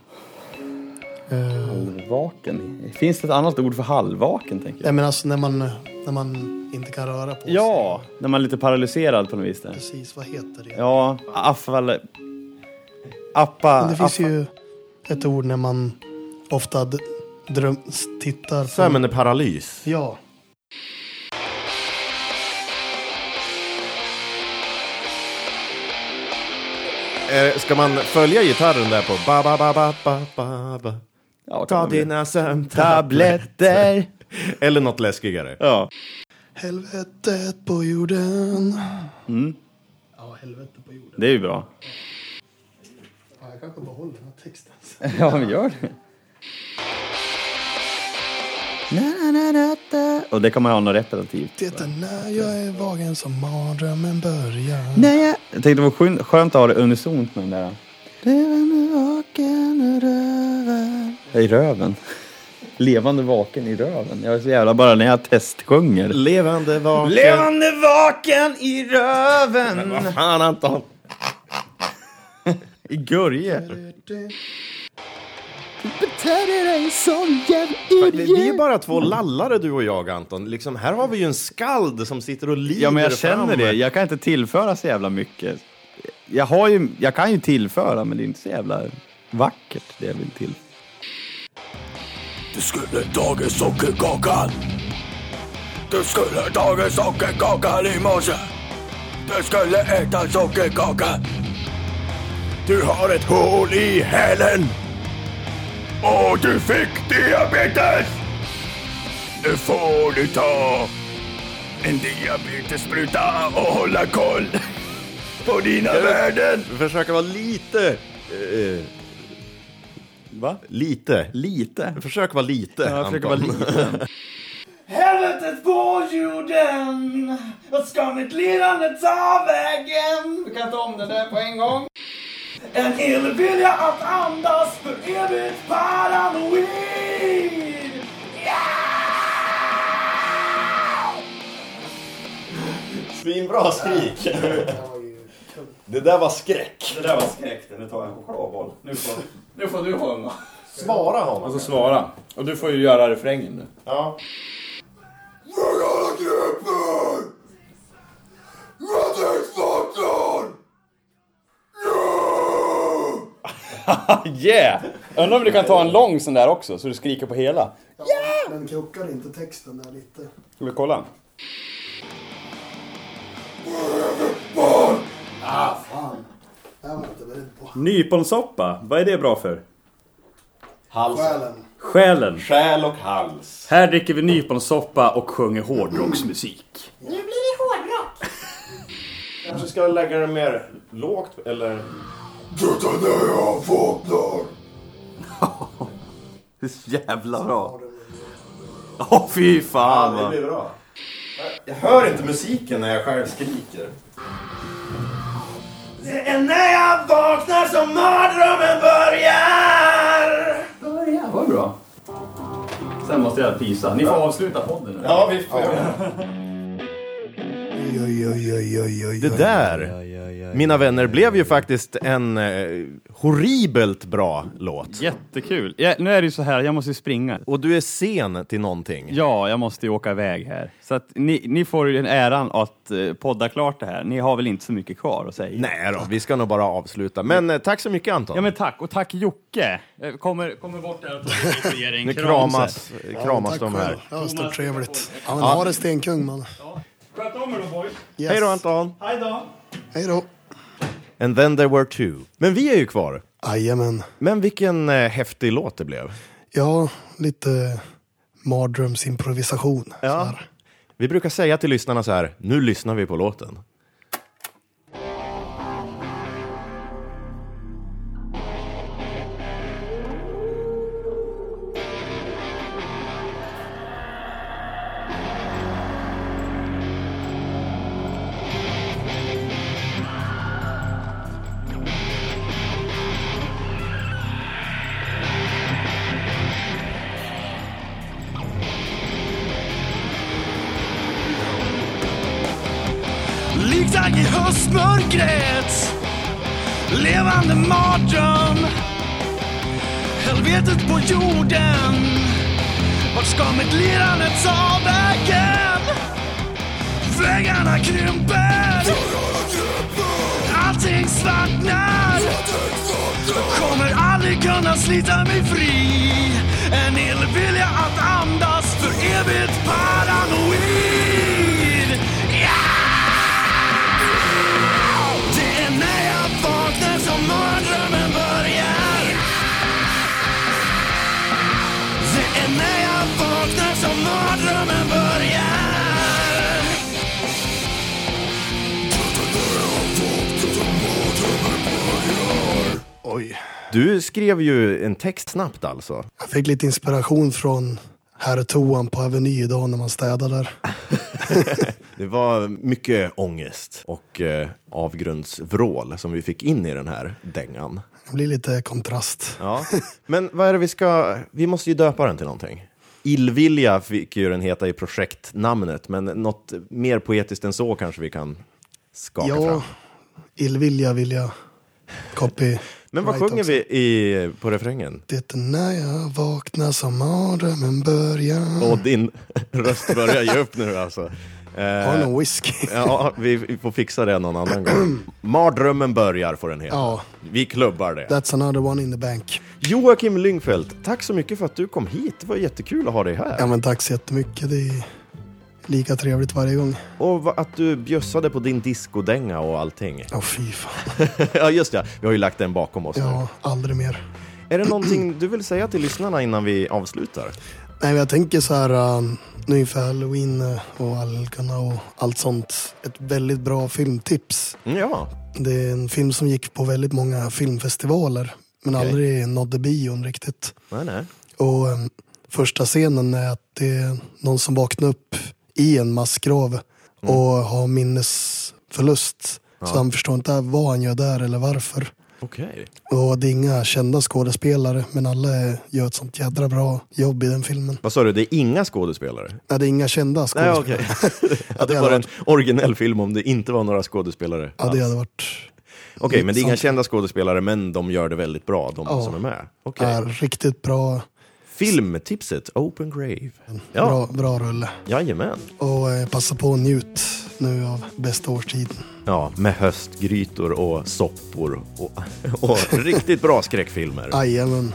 [SPEAKER 1] Eh,
[SPEAKER 3] Halvvaken. Finns det ett annat ord för halvvaken? Tänker jag?
[SPEAKER 1] nej, men alltså när man, när man inte kan röra på sig.
[SPEAKER 3] Ja, när man är lite paralyserad på något vis. Där.
[SPEAKER 1] Precis, vad heter det?
[SPEAKER 3] Ja, affal... Appa...
[SPEAKER 1] Men det finns
[SPEAKER 2] alltså-
[SPEAKER 3] affa-
[SPEAKER 1] ju ett ord när man ofta d- dröm, s- tittar på...
[SPEAKER 2] Sömn är paralys.
[SPEAKER 1] Ja.
[SPEAKER 2] Eh, Ska man följa gitarren där på ba ba ba ba ba ba ba
[SPEAKER 3] Ja,
[SPEAKER 2] Ta
[SPEAKER 3] kan man
[SPEAKER 2] dina sömntabletter.
[SPEAKER 1] [LAUGHS]
[SPEAKER 3] Tabletter!
[SPEAKER 2] Eller något läskigare.
[SPEAKER 3] Ja.
[SPEAKER 1] Helvetet på jorden.
[SPEAKER 2] Mm.
[SPEAKER 1] Ja, helvete på jorden.
[SPEAKER 3] Det är ju bra.
[SPEAKER 1] Ja, jag kanske behåller den här texten.
[SPEAKER 3] Ja, men gör det. Na, na, na, na, na. Och det kan man ju ha något repetitivt.
[SPEAKER 1] Det är när jag är vagen som mardrömmen börjar.
[SPEAKER 3] Nej, jag... jag tänkte det var skön- skönt att ha det unisont med den där. Reven är vaken i röven. I röven? Levande vaken i röven. Jag är så jävla bara när jag testsjunger.
[SPEAKER 2] Levande vaken.
[SPEAKER 3] Levande vaken i röven.
[SPEAKER 2] Vad fan Anton.
[SPEAKER 3] [LAUGHS] I Gurje.
[SPEAKER 2] Vi vi är bara två lallare du och jag Anton. Liksom, här har vi ju en skald som sitter och lider
[SPEAKER 3] Ja, men jag
[SPEAKER 2] fram.
[SPEAKER 3] känner det. Jag kan inte tillföra så jävla mycket. Jag, har ju, jag kan ju tillföra, men det är inte så jävla vackert det jag vill till.
[SPEAKER 8] Du skulle tagit sockerkakan. Du skulle tagit sockerkakan i morse. Du skulle äta sockerkakan. Du har ett hål i hälen. Och du fick diabetes. Nu får du ta en diabetesspruta och hålla koll på dina värden.
[SPEAKER 2] Försöka vara lite... eh,
[SPEAKER 3] Va?
[SPEAKER 2] lite.
[SPEAKER 3] Lite.
[SPEAKER 2] Försök vara lite,
[SPEAKER 3] Jag försöker
[SPEAKER 2] Anton.
[SPEAKER 3] vara liten.
[SPEAKER 9] [LAUGHS] Helvetet på jorden! Vad ska mitt lirande ta vägen? Du kan ta om den där på en gång. En illvilja att andas för evigt paranoid!
[SPEAKER 2] Svinbra skrik!
[SPEAKER 10] Det där var skräck.
[SPEAKER 11] Det där var skräck. Nu tar jag en chokladboll. Nu får, nu får du ha en va?
[SPEAKER 10] Svara honom.
[SPEAKER 11] Alltså svara. Och du får ju göra refrängen nu.
[SPEAKER 10] Ja.
[SPEAKER 11] [LAUGHS] yeah! Undrar om du kan ta en lång sån där också, så du skriker på hela.
[SPEAKER 1] Ja, Men krockar inte texten där lite?
[SPEAKER 11] Ska vi kolla?
[SPEAKER 1] Ah, fan. Det här var jag inte beredd på.
[SPEAKER 3] Nyponsoppa, vad är det bra för?
[SPEAKER 1] Själen.
[SPEAKER 3] Själen.
[SPEAKER 10] Själ och hals.
[SPEAKER 3] Här dricker vi nyponsoppa och sjunger hårdrocksmusik.
[SPEAKER 10] Nu blir det hårdrock. Kanske ska jag lägga det mer lågt eller... Detta när jag vaknar.
[SPEAKER 12] Så [LAUGHS] jävla bra. Åh fy fan.
[SPEAKER 10] Ja, det
[SPEAKER 12] vad-
[SPEAKER 10] blir bra. Jag hör inte musiken när jag själv skriker.
[SPEAKER 8] Det är när jag vaknar som mardrömmen börjar. Börjar?
[SPEAKER 3] Vad bra. Sen måste jag pisa. Ni får avsluta podden nu.
[SPEAKER 10] Ja, vi får
[SPEAKER 2] Det där, mina vänner, blev ju faktiskt en eh, horribelt bra låt.
[SPEAKER 3] Jättekul. Ja, nu är det ju så här, jag måste ju springa.
[SPEAKER 2] Och du är sen till någonting.
[SPEAKER 3] Ja, jag måste ju åka iväg här. Så att ni, ni får ju den äran att eh, podda klart det här. Ni har väl inte så mycket kvar att säga?
[SPEAKER 2] Nej då, vi ska nog bara avsluta. Men eh, tack så mycket Anton.
[SPEAKER 3] Ja men tack, och tack Jocke. Jag Kommer, kommer bort där och tar och ger dig en
[SPEAKER 2] Nu
[SPEAKER 3] kram
[SPEAKER 2] kramas-
[SPEAKER 3] så här.
[SPEAKER 2] eh, kramas Ja, tack de här. själv.
[SPEAKER 1] Ja, stort trevligt. Ja, men
[SPEAKER 2] Ja.
[SPEAKER 1] ha det stenkung man.
[SPEAKER 3] Sköt om er då boys.
[SPEAKER 1] Yes.
[SPEAKER 2] Hej då Anton.
[SPEAKER 3] Hej då.
[SPEAKER 1] Hej då.
[SPEAKER 2] And then there were two. Men vi är ju kvar.
[SPEAKER 1] Jajamän.
[SPEAKER 2] Men vilken eh, häftig låt det blev.
[SPEAKER 1] Ja, lite mardrömsimprovisation.
[SPEAKER 2] Ja. Vi brukar säga till lyssnarna så här, nu lyssnar vi på låten.
[SPEAKER 8] Likt dagg i höstmörkret Levande mardröm Helvetet på jorden Vart ska mitt lirande ta vägen? Vägarna krymper Allting svartnar Kommer aldrig kunna slita mig fri En illvilja att andas för evigt paranoid Det är när jag vaknar som mardrömmen börjar Det är när jag vaknar som mardrömmen börjar
[SPEAKER 2] Du skrev ju en text snabbt alltså.
[SPEAKER 1] Jag fick lite inspiration från herrtoan på Aveny idag när man städar där.
[SPEAKER 2] Det var mycket ångest och eh, avgrundsvrål som vi fick in i den här dängan.
[SPEAKER 1] Det blir lite kontrast.
[SPEAKER 2] Ja. Men vad är det vi ska... Vi måste ju döpa den till någonting. Illvilja fick ju den heta i projektnamnet, men något mer poetiskt än så kanske vi kan skaka fram.
[SPEAKER 1] Ja, illvilja vill jag copy.
[SPEAKER 2] Men vad
[SPEAKER 1] right
[SPEAKER 2] sjunger
[SPEAKER 1] också.
[SPEAKER 2] vi i, på refrängen?
[SPEAKER 1] Det är när jag vaknar som mardrömmen börjar.
[SPEAKER 2] Och din [LAUGHS] röst börjar ge upp nu alltså.
[SPEAKER 1] Har
[SPEAKER 2] Eh,
[SPEAKER 1] någon whisky?
[SPEAKER 2] [LAUGHS] ja, vi vi får fixa det någon annan gång. Mardrömmen börjar får den heta.
[SPEAKER 1] Ja.
[SPEAKER 2] Vi klubbar det.
[SPEAKER 1] That's another one in the bank.
[SPEAKER 2] Joakim Lyngfeldt, tack så mycket för att du kom hit. Det var jättekul att ha dig här.
[SPEAKER 1] Ja men tack så jättemycket. Det är lika trevligt varje gång.
[SPEAKER 2] Och va- att du bjössade på din discodänga och allting. [LAUGHS]
[SPEAKER 1] Ja, fy fan.
[SPEAKER 2] ja, just det. Vi har ju lagt den bakom oss nu.
[SPEAKER 1] Ja, aldrig mer.
[SPEAKER 2] Är det någonting du vill säga till lyssnarna innan vi avslutar?
[SPEAKER 1] Nej, men jag tänker så här eh, nu inför halloween eh, och algerna och allt sånt. Ett väldigt bra filmtips.
[SPEAKER 2] Ja.
[SPEAKER 1] Det är en film som gick på väldigt många filmfestivaler men
[SPEAKER 2] Okej.
[SPEAKER 1] aldrig nådde bion riktigt.
[SPEAKER 2] Nej, nej.
[SPEAKER 1] Och eh, första scenen är att det är någon som vaknar upp i en massgrav och har minnesförlust.
[SPEAKER 2] Mm. Ja.
[SPEAKER 1] Så han förstår inte vad han gör där eller varför.
[SPEAKER 2] Okej.
[SPEAKER 1] Och det är inga kända skådespelare men alla eh, gör ett sånt jädra bra jobb i den filmen.
[SPEAKER 2] Vad sa du? Det är inga skådespelare?
[SPEAKER 1] Nej, det är inga kända skådespelare.
[SPEAKER 2] [LAUGHS] Nej, okej. att det var en originell film om det inte var några skådespelare.
[SPEAKER 1] Ja, det hade varit
[SPEAKER 2] Okej, men det är inga kända skådespelare, men de gör det väldigt bra, de
[SPEAKER 1] Ja.
[SPEAKER 2] som är med.
[SPEAKER 1] är riktigt bra,
[SPEAKER 2] Filmtipset, Open Grave. Ja.
[SPEAKER 1] bra, bra rulle.
[SPEAKER 2] Jajamän.
[SPEAKER 1] Och eh, passa på att njut nu av bästa årstiden.
[SPEAKER 2] Ja, med höstgrytor och soppor och, [LAUGHS] och riktigt bra skräckfilmer.
[SPEAKER 1] Jajamän.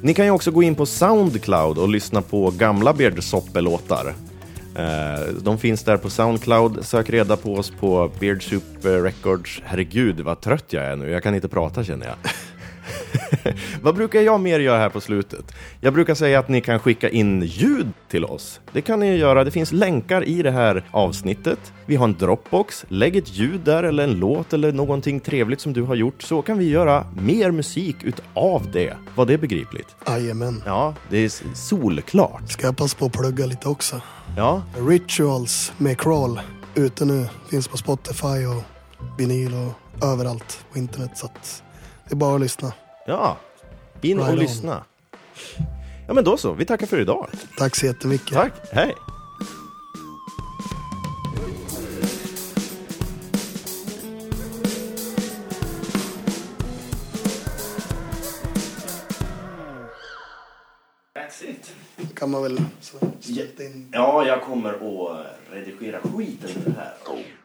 [SPEAKER 2] Ni kan ju också gå in på Soundcloud och lyssna på gamla Beard Soppe-låtar. Eh, De finns där på Soundcloud. Sök reda på oss på Beard Soup Records. Herregud, vad trött jag är nu. Jag kan inte prata känner jag. [LAUGHS] vad brukar jag mer göra här på slutet? Jag brukar säga att ni kan skicka in ljud till oss. Det kan ni göra. Det finns länkar i det här avsnittet. Vi har en Dropbox. Lägg ett ljud där eller en låt eller någonting trevligt som du har gjort så kan vi göra mer musik utav det. Var det begripligt?
[SPEAKER 1] Jajamän.
[SPEAKER 2] Ja, det är s- solklart.
[SPEAKER 1] Ska jag passa på att plugga lite också?
[SPEAKER 2] Ja,
[SPEAKER 1] Rituals med Crawl. Ute nu. Finns på Spotify och vinyl och överallt på internet. Så att det är bara att lyssna.
[SPEAKER 2] ja. In
[SPEAKER 1] Right
[SPEAKER 2] och
[SPEAKER 1] on.
[SPEAKER 2] lyssna. Ja, men då så. Vi tackar för idag.
[SPEAKER 1] Tack så jättemycket.
[SPEAKER 2] Tack. Hej.
[SPEAKER 1] That's it. kan man väl så smälta in.
[SPEAKER 2] Ja, jag kommer att redigera skiten ur det här.